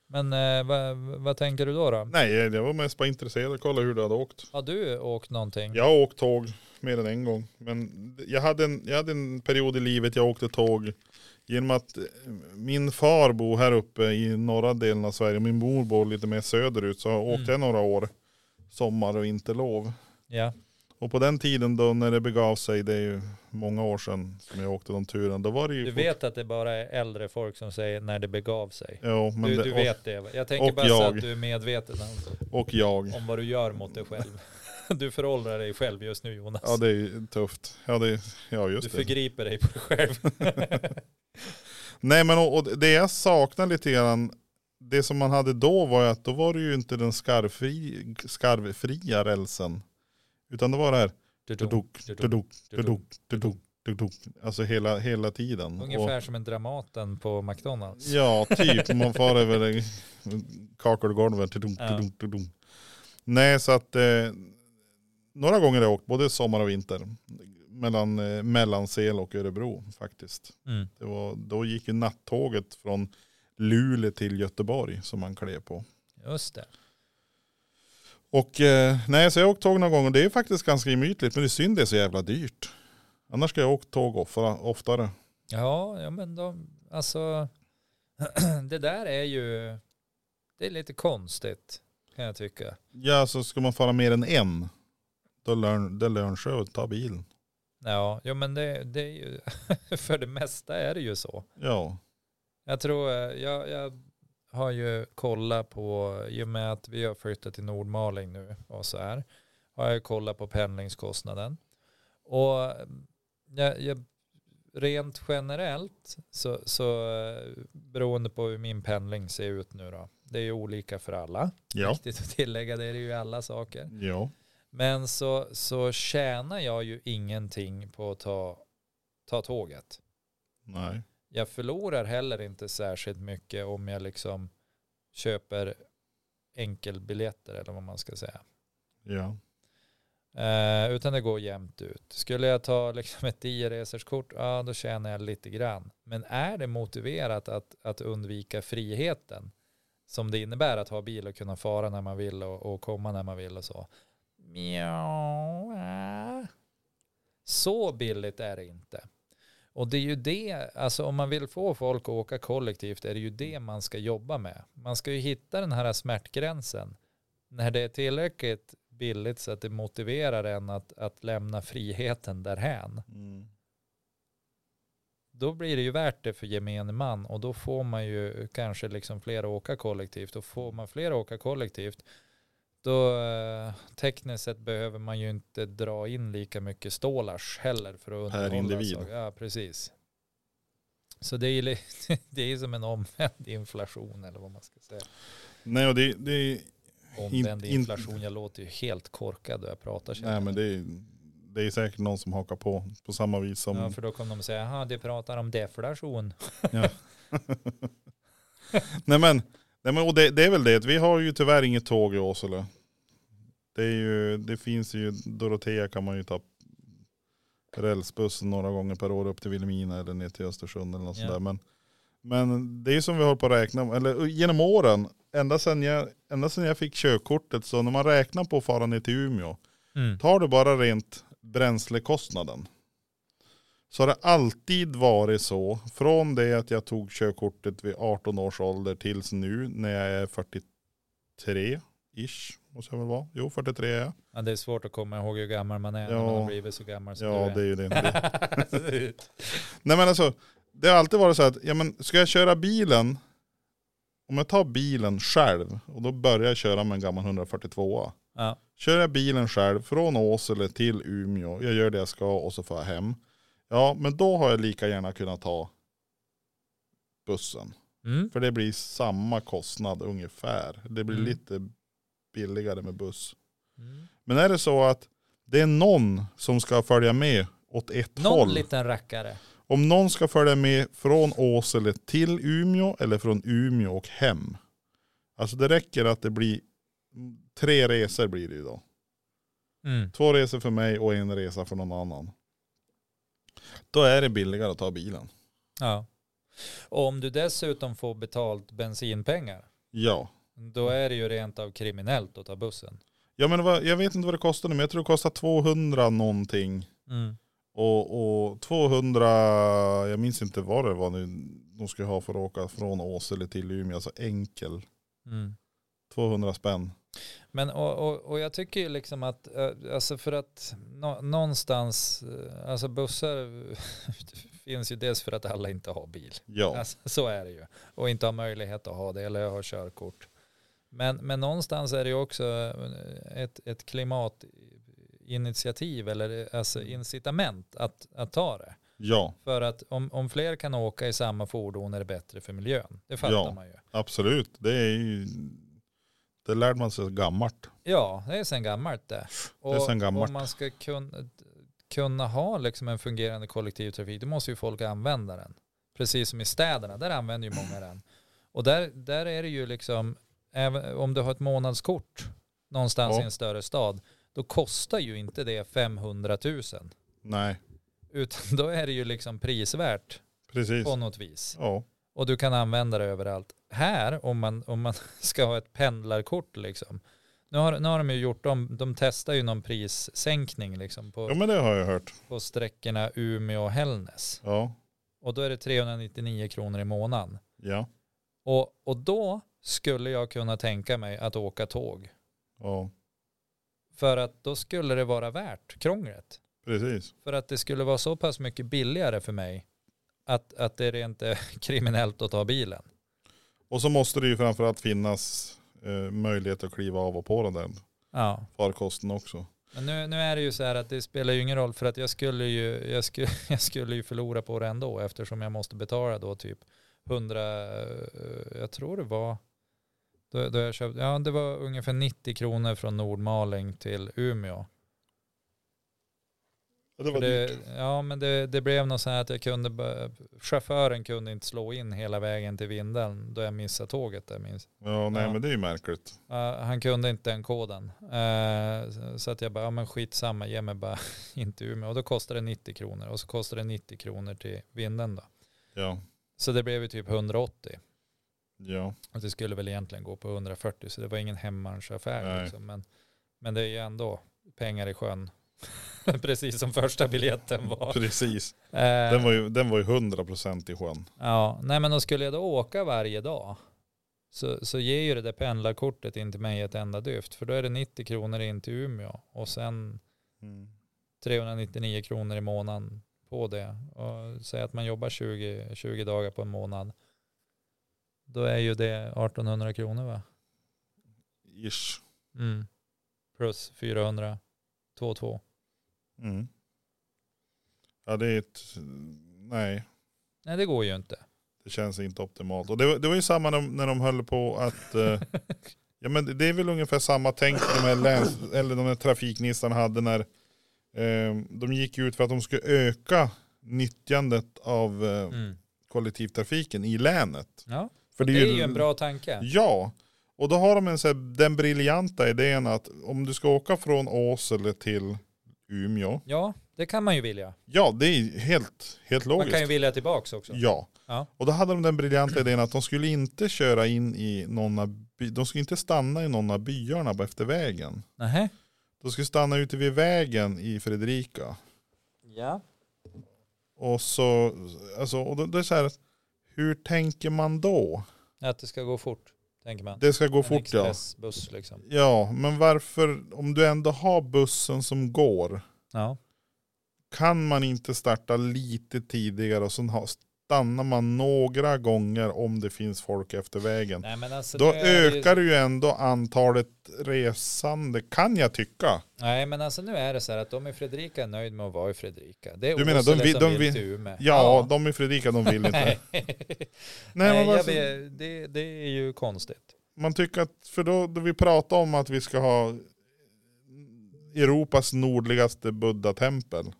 A: Men eh, vad, vad tänker du då? då?
B: Nej, jag var mest bara intresserad att kolla hur du hade åkt.
A: Har du åkt någonting?
B: Jag har åkt tåg mer än en gång. Men jag hade en, jag hade en period i livet jag åkte tåg genom att eh, min far bor här uppe i norra delen av Sverige. Min mor bor lite mer söderut. Så
A: Mm.
B: åkte jag några år sommar och vinterlov.
A: Ja.
B: Och på den tiden då när det begav sig, det är ju många år sedan som jag åkte de turerna. Då var det ju
A: Du
B: fort-
A: vet att det bara är äldre folk som säger när det begav sig.
B: Ja, men
A: Du,
B: det,
A: du
B: och-
A: vet det. va? Jag tänker
B: och
A: bara så
B: jag.
A: att du är medveten om,
B: Och jag.
A: om vad du gör mot dig själv. <laughs> Du föråldrar dig själv just nu Jonas.
B: Ja det är ju tufft. Ja, det, ja
A: du
B: just det.
A: förgriper dig på dig
B: <laughs>
A: själv.
B: Nej men och, och det jag saknar lite grann, det som man hade då var ju att då var det ju inte den skarvfri, skarvfria rälsen. Utan det var det här, tuduk, tuduk, tuduk, tuduk, tuduk. Alltså hela, hela tiden.
A: Ungefär som en Dramaten på
B: Och,
A: McDonalds.
B: ja, typ. Man far över det- kakelgolven. Tuduk,
A: Ja.
B: tuduk, tuduk. Nej så att eh, några gånger har jag åkt både sommar och vinter. Mellan, eh, mellan Sel och Örebro faktiskt.
A: Mm.
B: Det var, då gick ju nattåget från Luleå till Göteborg som man klev på.
A: Just det.
B: Och eh, nej, så jag har åkt tåg någon gång och det är faktiskt ganska gemytligt. Men det är synd det är så jävla dyrt. Annars ska jag åka tåg ofta, oftare.
A: Ja, ja men de, alltså <clears throat> det där är ju, det är lite konstigt kan jag tycka.
B: Ja, så ska man fara mer än en. Då lön, det lönar sig att ta bilen.
A: Ja, ja men det, det är ju, <laughs> för det mesta är det ju så.
B: Ja,
A: Jag tror, eh, jag, jag har ju kollat på, i och med att vi har flyttat till Nordmaling nu och så här, har jag kollat på pendlingskostnaden. Och eh, jag, jag, rent generellt, så, så eh, beroende på hur min pendling ser ut nu då, det är ju olika för alla.
B: ja,
A: Viktigt att tillägga, det är det ju i alla saker.
B: ja.
A: Men så, så tjänar jag ju ingenting på att ta, ta tåget
B: Nej,
A: jag förlorar heller inte särskilt mycket om jag liksom köper enkelbiljetter eller vad man ska säga.
B: ja.
A: Eh, utan det går jämnt ut. Skulle jag ta liksom ett 10-reserskort, ja då tjänar jag lite grann. Men är det motiverat att, att undvika friheten som det innebär att ha bil och kunna fara när man vill och, och komma när man vill och så? Mjau, äh. Så billigt är det inte. Och det är ju det, alltså om man vill få folk att åka kollektivt är det ju det man ska jobba med. Man ska ju hitta den här smärtgränsen när det är tillräckligt billigt så att det motiverar en att, att lämna friheten därhän,
B: Mm.
A: då blir det ju värt det för gemene man och då får man ju kanske liksom fler att åka kollektivt och får man fler att åka kollektivt då eh, tekniskt sett behöver man ju inte dra in lika mycket stålars heller för att
B: Per
A: underhålla.
B: individ.
A: saker. Ja, precis. Så det är ju li- <laughs> det är som en omvänd inflation eller vad man ska säga.
B: Nej, och det, det,
A: Omvänd
B: in-
A: inflation, jag låter ju helt korkad och jag pratar känner
B: nej
A: jag.
B: men det, det är säkert någon som hakar på på samma vis som
A: Ja, för då kommer de säga, jaha, de pratar om deflation.
B: Ja. Nej men, nej, men och det, det är väl det. Vi har ju tyvärr inget tåg i Åsele. Det, är ju, det finns ju, Dorotea kan man ju ta rälsbussen några gånger per år upp till Vilhelmina eller ner till Östersund eller något
A: Ja.
B: sådär. Men, men det är ju som vi håller på att räkna, eller genom åren, ända sedan jag, ända sedan jag fick körkortet så när man räknar på att fara ner till Umeå
A: Mm.
B: Tar du bara rent bränslekostnaden så har det alltid varit så från det att jag tog körkortet vid 18 års ålder tills nu när jag är 43-ish måste jag väl vara. Jo 43 är jag.
A: Ja, det är svårt att komma ihåg hur gammal man är när
B: Ja.
A: man har blivit så gammal som
B: Ja det
A: du
B: är
A: är.
B: ju det.
A: <laughs>
B: det.
A: det.
B: Nej men alltså det har alltid varit så att ja, men ska jag köra bilen om jag tar bilen själv och då börjar jag köra med en gammal 142a.
A: <laughs> ja.
B: Kör jag bilen själv från Åsele till Umeå. Jag gör det jag ska och så får jag hem. Ja, men då har jag lika gärna kunnat ta bussen.
A: Mm.
B: För det blir samma kostnad ungefär. Det blir
A: Mm.
B: lite billigare med buss.
A: Mm.
B: Men är det så att det är någon som ska följa med åt ett
A: Någon
B: håll.
A: liten rackare.
B: Om någon ska följa med från Åsele till Umeå eller från Umeå och hem. Alltså det räcker att det blir tre resor blir det ju då.
A: Mm.
B: Två resor för mig och en resa för någon annan. Då är det billigare att ta bilen.
A: Ja. Och om du dessutom får betalt bensinpengar,
B: Ja.
A: då är det ju rent av kriminellt att ta bussen.
B: Ja men vad, jag vet inte vad det kostar nu men jag tror det kostar 200 någonting.
A: Mm.
B: Och, och 200, jag minns inte vad det var nu de skulle ha för att åka från Åsele till Umeå. Alltså enkel.
A: Mm.
B: 200 spänn.
A: Men och, och, och jag tycker ju liksom att, eh, alltså för att nå, någonstans, eh, alltså bussar <laughs> finns ju dels för att alla inte har bil.
B: Ja.
A: Alltså, så är det ju. Och inte har möjlighet att ha det eller ha körkort. Men, men någonstans är det ju också eh, ett, ett klimatinitiativ eller eh, alltså incitament att, att ta det.
B: Ja.
A: För att om, om fler kan åka i samma fordon är det bättre för miljön. Det fattar
B: Ja.
A: man ju.
B: Absolut. Det är ju, det lärde man sig gammalt.
A: Ja, det är sen gammalt det. Och
B: sen gammalt.
A: om man ska kunna, kunna ha liksom en fungerande kollektivtrafik, då måste ju folk använda den. Precis som i städerna, där använder ju många den. Och där, där är det ju liksom, även om du har ett månadskort någonstans
B: Ja.
A: i en större stad, då kostar ju inte det 500 000.
B: Nej.
A: Utan då är det ju liksom prisvärt
B: Precis.
A: på något vis.
B: Ja.
A: Och du kan använda det överallt. Här, om man, om man <laughs> ska ha ett pendlarkort liksom. Nu har, nu har de ju gjort, de, de testar ju någon prissänkning liksom på,
B: ja men det har jag hört.
A: på sträckorna Umeå och Hällnäs.
B: Ja.
A: Och då är det 399 kronor i månaden.
B: Ja.
A: Och, och då skulle jag kunna tänka mig att åka tåg.
B: Ja.
A: För att då skulle det vara värt krånglet.
B: Precis.
A: För att det skulle vara så pass mycket billigare för mig att, att det är inte <laughs> kriminellt att ta bilen.
B: Och så måste det ju framförallt finnas eh, möjlighet att kliva av och på den där
A: Ja.
B: farkosten också.
A: Men nu, nu är det ju så här att det spelar ju ingen roll för att jag skulle ju, jag skulle, <laughs> jag skulle ju förlora på det ändå eftersom jag måste betala då typ 100, eh, jag tror det var, då, då jag köpte, ja det var ungefär 90 kronor från Nordmaling till Umeå.
B: Ja, det
A: För
B: var
A: Det,
B: dyrt.
A: ja men det, det blev nog så här att jag kunde, bara- chauffören kunde inte slå in hela vägen till Vindeln då jag missade tåget där minns
B: Ja, nej
A: Ja.
B: men det är ju märkligt.
A: Ja, han kunde inte den koden. Eh, så- så att jag bara, ja men skitsamma, ge mig bara <laughs> inte Umeå. Och då kostade det 90 kronor. Och så kostade det 90 kronor till vinden då.
B: Ja,
A: Så det blev ju typ 180. <laughs>
B: ja,
A: Och det skulle väl egentligen gå på 140, så det var ingen hemmansaffär.
B: Nej.
A: Liksom. Men, men det är ju ändå pengar i sjön. <laughs> Precis som första biljetten var.
B: precis.
A: Eh,
B: Den var ju, den var ju 100% i sjön.
A: Ja, nej men då skulle jag då åka varje dag så, så ger ju det där pendlarkortet inte mig ett enda dyft för då är det 90 kronor in till Umeå och sen
B: Mm.
A: 399 kronor i månaden på det och säg att man jobbar 20, 20 dagar på en månad då är ju det 1800 kronor va?
B: Ish.
A: Mm. Plus 400, 22.
B: Mm. Ja det är ett, nej
A: Nej det går ju inte.
B: det känns inte optimalt. Och det, var- det var ju samma när, när de höll på
A: <laughs>
B: att, eh, ja men det är väl ungefär samma tänk de här, läns, eller de här trafiknissarna hade när ehm, eh, de gick ut för att de skulle öka nyttjandet av eh,
A: Mm.
B: kollektivtrafiken i länet.
A: Ja,
B: För
A: det är ju en bra tanke.
B: Ja, och då har de en, så här, den briljanta idén att om du ska åka från Åsele till Umeå,
A: Ja, det kan man ju vilja.
B: ja det är helt, helt
A: Man
B: logiskt.
A: kan ju vilja tillbaka också.
B: Ja.
A: Ja.
B: Och då hade de den briljanta idén att de skulle inte köra in i någon av by- de skulle inte stanna i någon av byarna på efter vägen.
A: Nähä.
B: De skulle stanna ute vid vägen i Fredrika.
A: Ja.
B: Och så, alltså, och då, det är så här, hur tänker man då?
A: Att det ska gå fort, tänker man.
B: Det ska gå
A: En
B: fort ja.
A: expressbuss liksom.
B: Ja, men varför, om du ändå har bussen som går,
A: Ja.
B: kan man inte starta lite tidigare och sen ha, stannar man några gånger om det finns folk efter vägen.
A: Nej, men alltså,
B: Då
A: nu är det ju-
B: ökar ju ändå antalet resande kan jag tycka.
A: Nej men alltså nu är det så här att de i Fredrika är nöjd med att vara i Fredrika. Det är
B: Du menar, de
A: Åsele
B: vill-
A: som
B: de
A: vill,
B: vill-
A: till Umeå.
B: Ja,
A: <laughs>
B: de i Fredrika de vill inte.
A: Nej,
B: Nej, men
A: jag
B: varför,
A: vet, det, det är ju konstigt.
B: man tycker att, för då, då vi pratar om att vi ska ha Europas nordligaste buddha-tempel.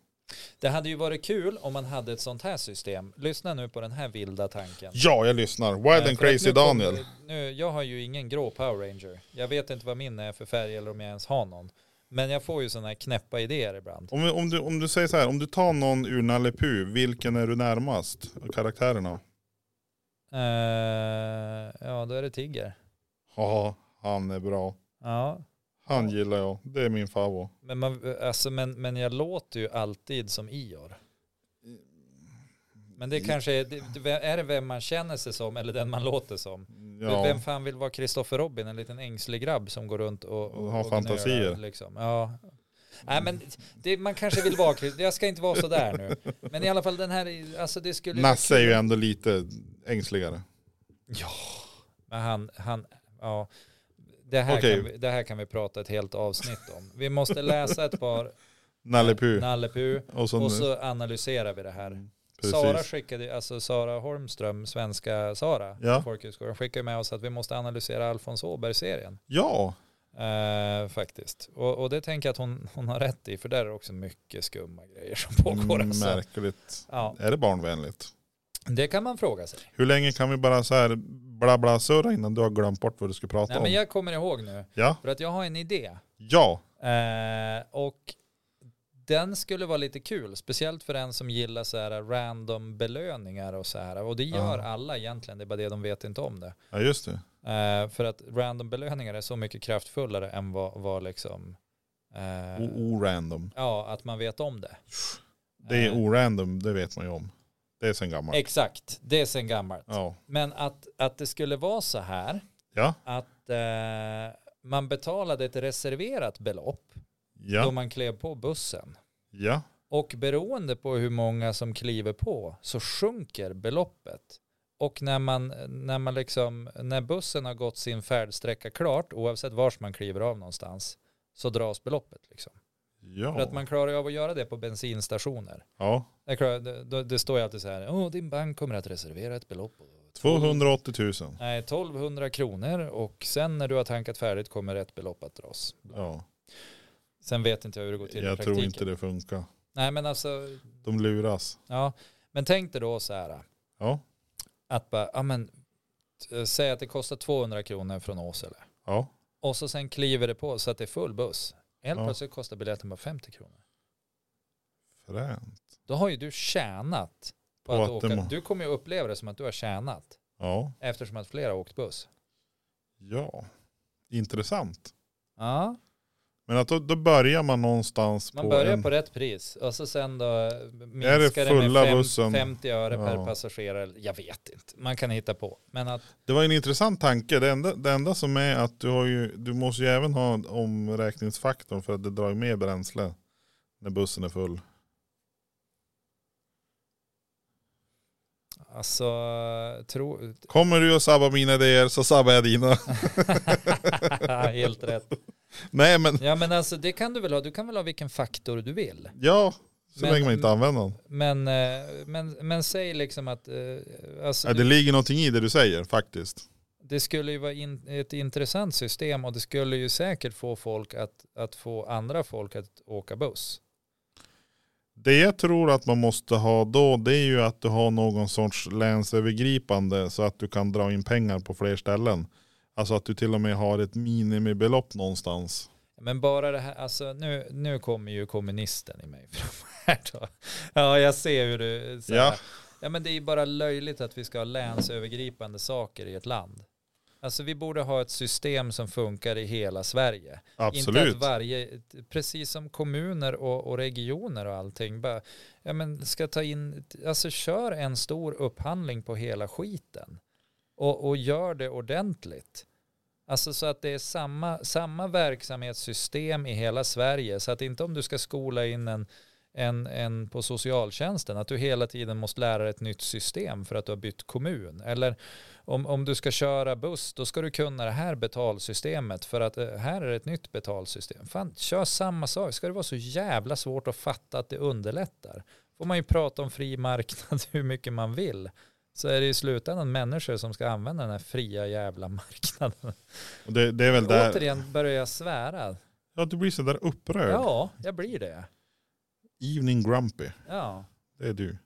A: Det hade ju varit kul om man hade ett sånt här system. Lyssna nu på den här vilda tanken.
B: Ja, jag lyssnar.
A: Eh,
B: Wild
A: för
B: and
A: att
B: crazy
A: nu kommer-
B: Daniel.
A: Nu, jag har ju ingen grå Power Ranger. Jag vet inte vad min är för färg eller om jag ens har någon. Men jag får ju sådana här knäppa idéer ibland.
B: Om, om, du, om du säger så här, om du tar någon ur Nalle Puh, vilken är du närmast av karaktärerna?
A: Eh, ja, då är det Tigger.
B: Ja, han är bra.
A: Ja,
B: Han gillar jag. Det är min favorit.
A: men, man, alltså, men, men jag låter ju alltid som Ior. Men
B: Mm.
A: det kanske är, det- det, är det vem man känner sig som eller den man låter som? Vem
B: Ja,
A: fan vill vara Kristoffer Robin, en liten ängslig grabb som går runt och,
B: Och har fantasier.
A: gnölar, liksom. ja. Nej men det, man kanske vill vara, Krist- jag ska inte vara sådär nu. Men i alla fall den här, alltså det skulle
B: Nasse är ju ändå lite ängsligare.
A: Men han, han, ja. Det här,
B: Okej.
A: kan vi, det här kan vi prata ett helt avsnitt om. Vi måste läsa ett par
B: Nalle Puh.
A: Nalle Puh
B: Och så,
A: och så analyserar vi det här.
B: Mm, precis.
A: Sara skickade, alltså Sara Holmström, svenska Sara,
B: Ja.
A: ja. folkhögskolan, skickade med oss att vi måste analysera Alfons Åberg-serien.
B: Ja,
A: Eh, faktiskt. Och, och det tänker jag att hon, hon har rätt i, för där är det också mycket skumma grejer som pågår.
B: Mm,
A: Alltså.
B: märkligt.
A: Ja,
B: Är det barnvänligt?
A: det kan man fråga sig.
B: Hur länge kan vi bara så här bla bla surra innan du har glömt bort vad du ska prata
A: Nej, men
B: om?
A: jag kommer ihåg nu,
B: Ja,
A: för att jag har en idé.
B: ja,
A: Eh, och den skulle vara lite kul, speciellt för en som gillar så här random belöningar och så här. Och det gör
B: Ja.
A: alla egentligen, det är bara det de vet inte om det.
B: ja just det.
A: Eh, för att random belöningar är så mycket kraftfullare än vad, vad liksom... eh,
B: O- Orandom.
A: Ja, att man vet om det.
B: Det är
A: Eh,
B: orandom, det vet man ju om. Det är sen gammalt.
A: Exakt, det är sen gammalt.
B: Ja,
A: Men att, att det skulle vara så här,
B: ja,
A: att eh, man betalade ett reserverat belopp då
B: ja,
A: man klev på bussen.
B: ja.
A: Och beroende på hur många som kliver på så sjunker beloppet. Och när, man, när, man liksom, när bussen har gått sin färdsträcka klart, oavsett vars man kliver av någonstans, så dras beloppet. Liksom. För att
B: Ja,
A: man klarar ju av att göra det på bensinstationer.
B: ja.
A: Det, klarar, det, det- det står ju alltid så här, oh, din bank kommer att reservera ett belopp. på
B: 280 000.
A: Nej, 1200 kronor och sen när du har tankat färdigt kommer rätt belopp att dras.
B: Ja,
A: Sen vet inte jag hur det går till i
B: jag
A: praktiken.
B: tror inte det funkar.
A: Nej, men alltså,
B: De luras.
A: ja. Men tänk dig då så här,
B: Ja,
A: att bara, ja men, t- eh, säg att det kostar 200 kronor från Åsele.
B: ja.
A: Och så sen kliver det på så att det är full buss. Helt
B: Ja.
A: plötsligt kostar biljetten bara 50 kronor.
B: Fränt.
A: Då har ju du tjänat på
B: På
A: att
B: att det
A: åka.
B: må-
A: Du kommer ju uppleva det som att du har tjänat
B: Ja,
A: eftersom att flera har åkt buss.
B: ja. Intressant.
A: Ja,
B: Men att då, då börjar man någonstans
A: Man
B: på
A: börjar
B: en...
A: på rätt pris och så sen då eh, minskar
B: Är det
A: det,
B: fulla
A: med
B: bussen?
A: 50 öre
B: Ja.
A: per passagerare. Jag vet inte, man kan hitta på. Men att,
B: Det var en intressant tanke. Det enda, det enda som är att du, har ju, du måste ju även ha omräkningsfaktorn för att det drar ju mer bränsle när bussen är full.
A: alltså, tro... <laughs>
B: Kommer du och sabbar mina idéer så sabbar jag dina. <laughs>
A: Helt rätt.
B: Nej men
A: Ja men alltså det kan du väl ha, du kan väl ha vilken faktor du vill.
B: ja, så
A: Men-
B: länge man inte använder den.
A: Men, eh, men, men säg liksom att, eh, alltså,
B: Ja, det
A: det...
B: ligger någonting i det du säger faktiskt.
A: det skulle ju vara in, ett intressant system och det skulle ju säkert få folk att, att få andra folk att åka buss.
B: Det jag tror att man måste ha då det är ju att du har någon sorts länsövergripande så att du kan dra in pengar på fler ställen. Alltså att du till och med har ett minimibelopp någonstans.
A: Men bara det här, alltså nu, nu kommer ju kommunisten i mig <laughs> fram här då. Ja, jag ser hur du... Så här.
B: Ja.
A: ja, men det är ju bara löjligt att vi ska ha länsövergripande saker i ett land. Alltså vi borde ha ett system som funkar i hela Sverige. Inte
B: Absolut.
A: att varje, precis som kommuner och, och regioner och allting, bara, ja men ska ta in, alltså kör en stor upphandling på hela skiten. Och, och gör det ordentligt. Alltså så att det är samma, samma verksamhetssystem i hela Sverige. Så att inte om du ska skola in en, en, en på socialtjänsten, att du hela tiden måste lära dig ett nytt system för att du har bytt kommun. Eller om, om du ska köra buss, då ska du kunna det här betalsystemet för att eh, här är ett nytt betalsystem. Fan, kör samma sak. Ska det vara så jävla svårt att fatta att det underlättar? Får man ju prata om fri marknad <laughs> hur mycket man vill. Så är det i slutändan människor som ska använda den här fria jävla marknaden.
B: Och Det, det är <laughs> väl där.
A: Återigen börjar jag svära.
B: Ja, du blir så där upprörd.
A: Ja, jag blir det.
B: Evening grumpy.
A: Ja.
B: Det är du.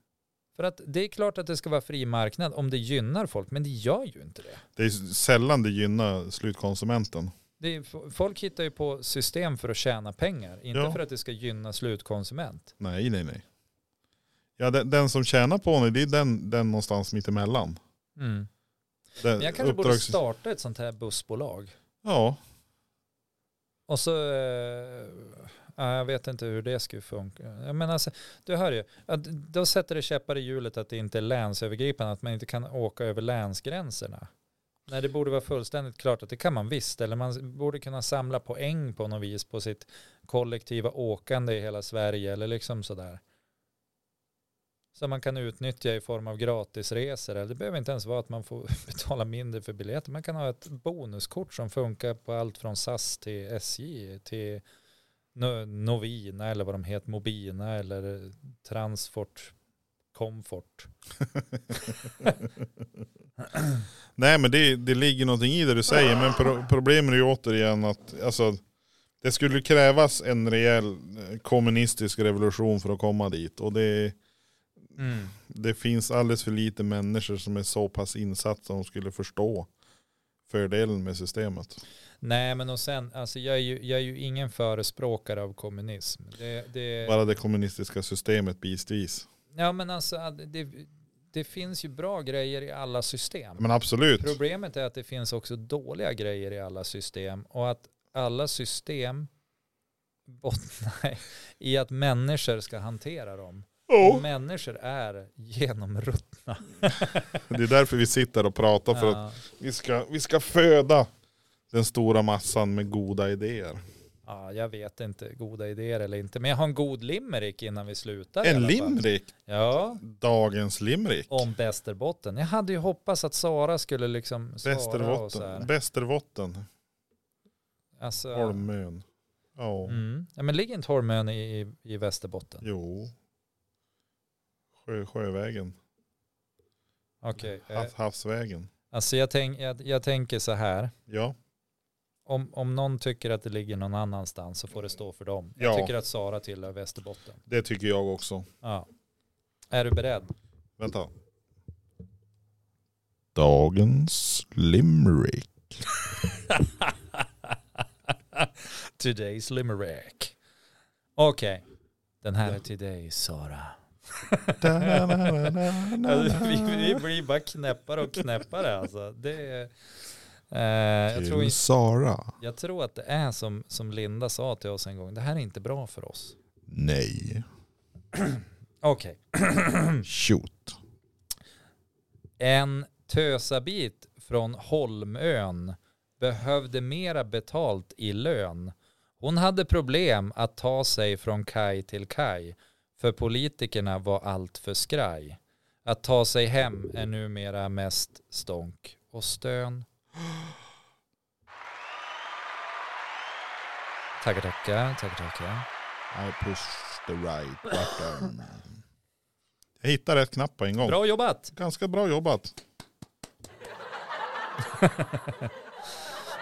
A: För att det är klart att det ska vara fri marknad om det gynnar folk, men det gör ju inte det.
B: Det är sällan det gynnar slutkonsumenten.
A: det är, f- folk hittar ju på system för att tjäna pengar, inte
B: Ja.
A: för att det ska gynna slutkonsument.
B: Nej, nej, nej. Ja, den, den som tjänar på det, det är den, den någonstans mittemellan.
A: Mm.
B: Den,
A: Men jag kanske borde
B: uppdrags-
A: starta ett sånt här bussbolag.
B: Ja,
A: Och så, eh, ja, jag vet inte hur det skulle funka. Jag menar, alltså, du hör ju, att då sätter det käppar i hjulet att det inte är länsövergripande, att man inte kan åka över länsgränserna. Nej, det borde vara fullständigt klart att det kan man visst, eller man borde kunna samla poäng på något vis på sitt kollektiva åkande i hela Sverige, eller liksom sådär. Som man kan utnyttja i form av gratisresor, eller det behöver inte ens vara att man får betala mindre för biljetter, man kan ha ett bonuskort som funkar på allt från SAS till SJ, till No- Novina eller vad de heter, Mobina eller Transport Comfort.
B: Nej men det, det ligger någonting i det du säger. Men pro problemet är ju återigen att alltså, det skulle krävas en rejäl eh, kommunistisk revolution för att komma dit. Och det, det finns alldeles för lite människor som är så pass insatta att de skulle förstå fördelen med systemet.
A: Nej men och sen, alltså jag är ju, jag är ju ingen förespråkare av kommunism. Det, det,
B: Bara det kommunistiska systemet bitvis.
A: ja men alltså att det, det finns ju bra grejer i alla system.
B: Men absolut.
A: Problemet är att det finns också dåliga grejer i alla system och att alla system <laughs> bottnar i att människor ska hantera dem.
B: Oh.
A: Och människor är genomruttna.
B: Det är därför vi sitter och pratar. För att
A: Ja.
B: vi ska, vi ska föda den stora massan med goda idéer.
A: Ja, jag vet inte, goda idéer eller inte. Men jag har en god limerick innan vi slutar. i
B: En
A: alla fall.
B: limerick.
A: Ja,
B: Dagens limerick.
A: om Västerbotten. Jag hade ju hoppats att Sara skulle liksom svara och så
B: Västerbotten.
A: här.
B: Västerbotten.
A: Alltså,
B: Holmön. Ja.
A: mm. ja, men ligger inte Holmön i, i, i Västerbotten?
B: Jo. Sjö, sjövägen.
A: Okej. eh,
B: Hav, havsvägen.
A: Alltså jag, tänk, jag, jag tänker så här.
B: Ja.
A: Om, om någon tycker att det ligger någon annanstans så får det stå för dem. Jag
B: Ja.
A: tycker att Sara tillhör Västerbotten.
B: Det tycker jag också.
A: Ja. Är du beredd?
B: Vänta. Dagens limerick.
A: Today's limerick. Okej. Den här är till dig Sara. Alltså, vi, vi blir bara knäppare och knäppare alltså. Det är, eh, jag, tror,
B: Till Sara.
A: jag tror att det är som, som Linda sa till oss en gång. Det här är inte bra för oss.
B: Nej.
A: Okej. Mm.
B: Shoot.
A: En tösabit från Holmön behövde mera betalt i lön. Hon hade problem att ta sig från kaj till kaj för politikerna var allt för skraj. Att ta sig hem är numera mest stånk och stön. Tackar, tackar, tackar, tackar.
B: I push the right button. Jag hittade rätt knapp på en gång.
A: Bra jobbat!
B: Ganska bra jobbat.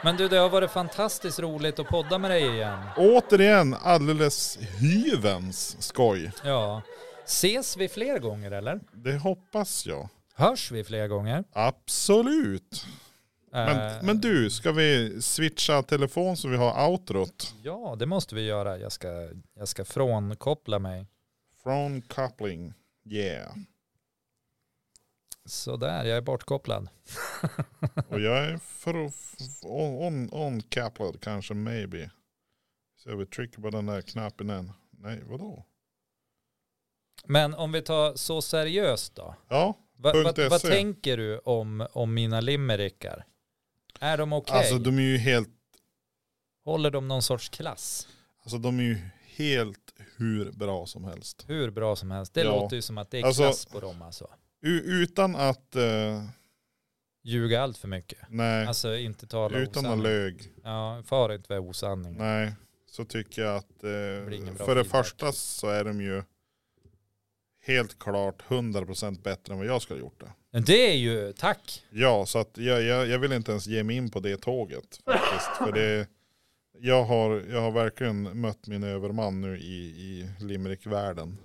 A: Men du, det har varit fantastiskt roligt att podda med dig igen.
B: Återigen alldeles hyvens skoj.
A: Ja. Ses vi fler gånger eller?
B: Det hoppas jag.
A: Hörs vi fler gånger?
B: Absolut.
A: Eh,
B: Men, men du, ska vi switcha telefon så vi har outrot?
A: Ja, det måste vi göra. Jag ska, jag ska frånkoppla mig.
B: Från coupling. Yeah.
A: Sådär, jag är bortkopplad.
B: Och jag är för f- on, on, on-coupled kanske, maybe. Så vi trycker på den där knappen än. Nej, vadå?
A: Men om vi tar så seriöst då.
B: Ja,
A: Va, va,
B: Punkt E.
A: vad
B: SE.
A: tänker du om, om mina limerickar? Är de okej?
B: alltså de är ju helt,
A: Håller de någon sorts klass?
B: alltså de är ju helt hur bra som helst.
A: Hur bra som helst. Det
B: Ja.
A: låter ju som att det är
B: Alltså-
A: klass på dem alltså.
B: U- utan att, eh,
A: Ljuga allt för mycket.
B: nej,
A: Alltså inte tala
B: utan att
A: osanning.
B: lög.
A: Ja, far inte med osanning.
B: Nej, så tycker jag att
A: blir ingen
B: eh,
A: bra
B: för det
A: feedback.
B: första så är de ju helt klart 100% bättre än vad jag skulle ha gjort det.
A: Men Det är ju, tack.
B: Ja, så att jag, jag, jag vill inte ens ge mig in på det tåget faktiskt. För det, jag, har, jag har verkligen mött min överman nu i, i Limerick-världen.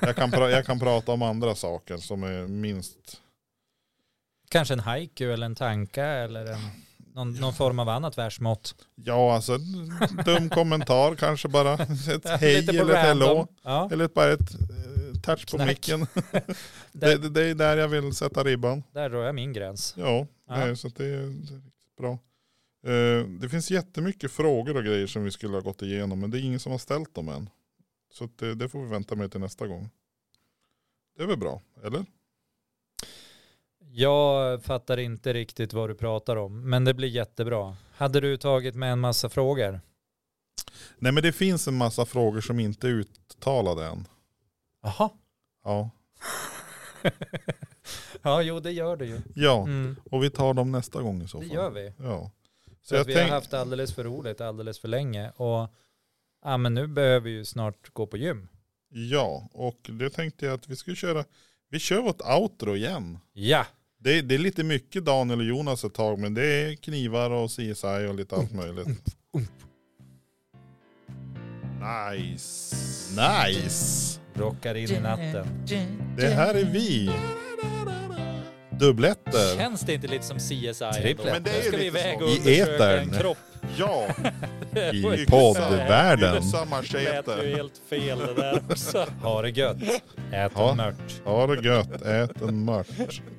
B: Jag kan, pra, jag kan prata om andra saker som är minst...
A: Kanske en haiku eller en tanka eller en, någon, någon form av annat versmått.
B: Ja, alltså en dum kommentar kanske bara. Ett
A: <laughs>
B: hej
A: Lite på
B: eller ett hello.
A: random. Ja,
B: Eller ett- bara ett eh, touch på
A: Snack. <laughs>
B: micken.
A: Där-
B: det, det, det är där jag vill sätta ribban.
A: där drar jag min gräns.
B: Ja,
A: Ja.
B: Nej, så att det är det är riktigt bra. Eh, det finns jättemycket frågor och grejer som vi skulle ha gått igenom men det är ingen som har ställt dem än. Så att det, det får vi vänta med till nästa gång. Det är väl bra, eller?
A: Jag fattar inte riktigt vad du pratar om, men det blir jättebra. Hade du tagit med en massa frågor?
B: Nej men det finns en massa frågor som inte är uttalade än.
A: Jaha.
B: Ja,
A: <laughs> ja, jo, det gör du ju.
B: ja
A: Mm,
B: och vi tar dem nästa gång i så
A: det
B: fall.
A: gör vi.
B: Ja. Så
A: Så
B: jag
A: att vi har
B: tänk,
A: haft alldeles för roligt alldeles för länge. Och ja, men nu behöver vi ju snart gå på gym.
B: Ja, och det tänkte jag att vi skulle köra. Vi kör vårt outro igen.
A: Ja,
B: Det, det är lite mycket Daniel och Jonas ett tag men det är knivar och CSI och lite allt möjligt. Nice. Nice.
A: rockar in i natten.
B: Det här är vi. Dubbletter.
E: Känns det inte lite som CSI? ändå?
A: Tripplet. Men det är
E: Nu
A: ju
E: ska vi
B: lite
E: iväg
B: så.
E: och
B: I
E: undersöka en
B: etern.
E: kropp.
B: Ja,
E: Det <laughs>
B: i
E: Världen.
B: poddvärlden.
E: lät ju helt fel det där också.
A: Ha det gött. Ät
B: Ja.
A: en mört.
B: Ha det gött, ät en mört.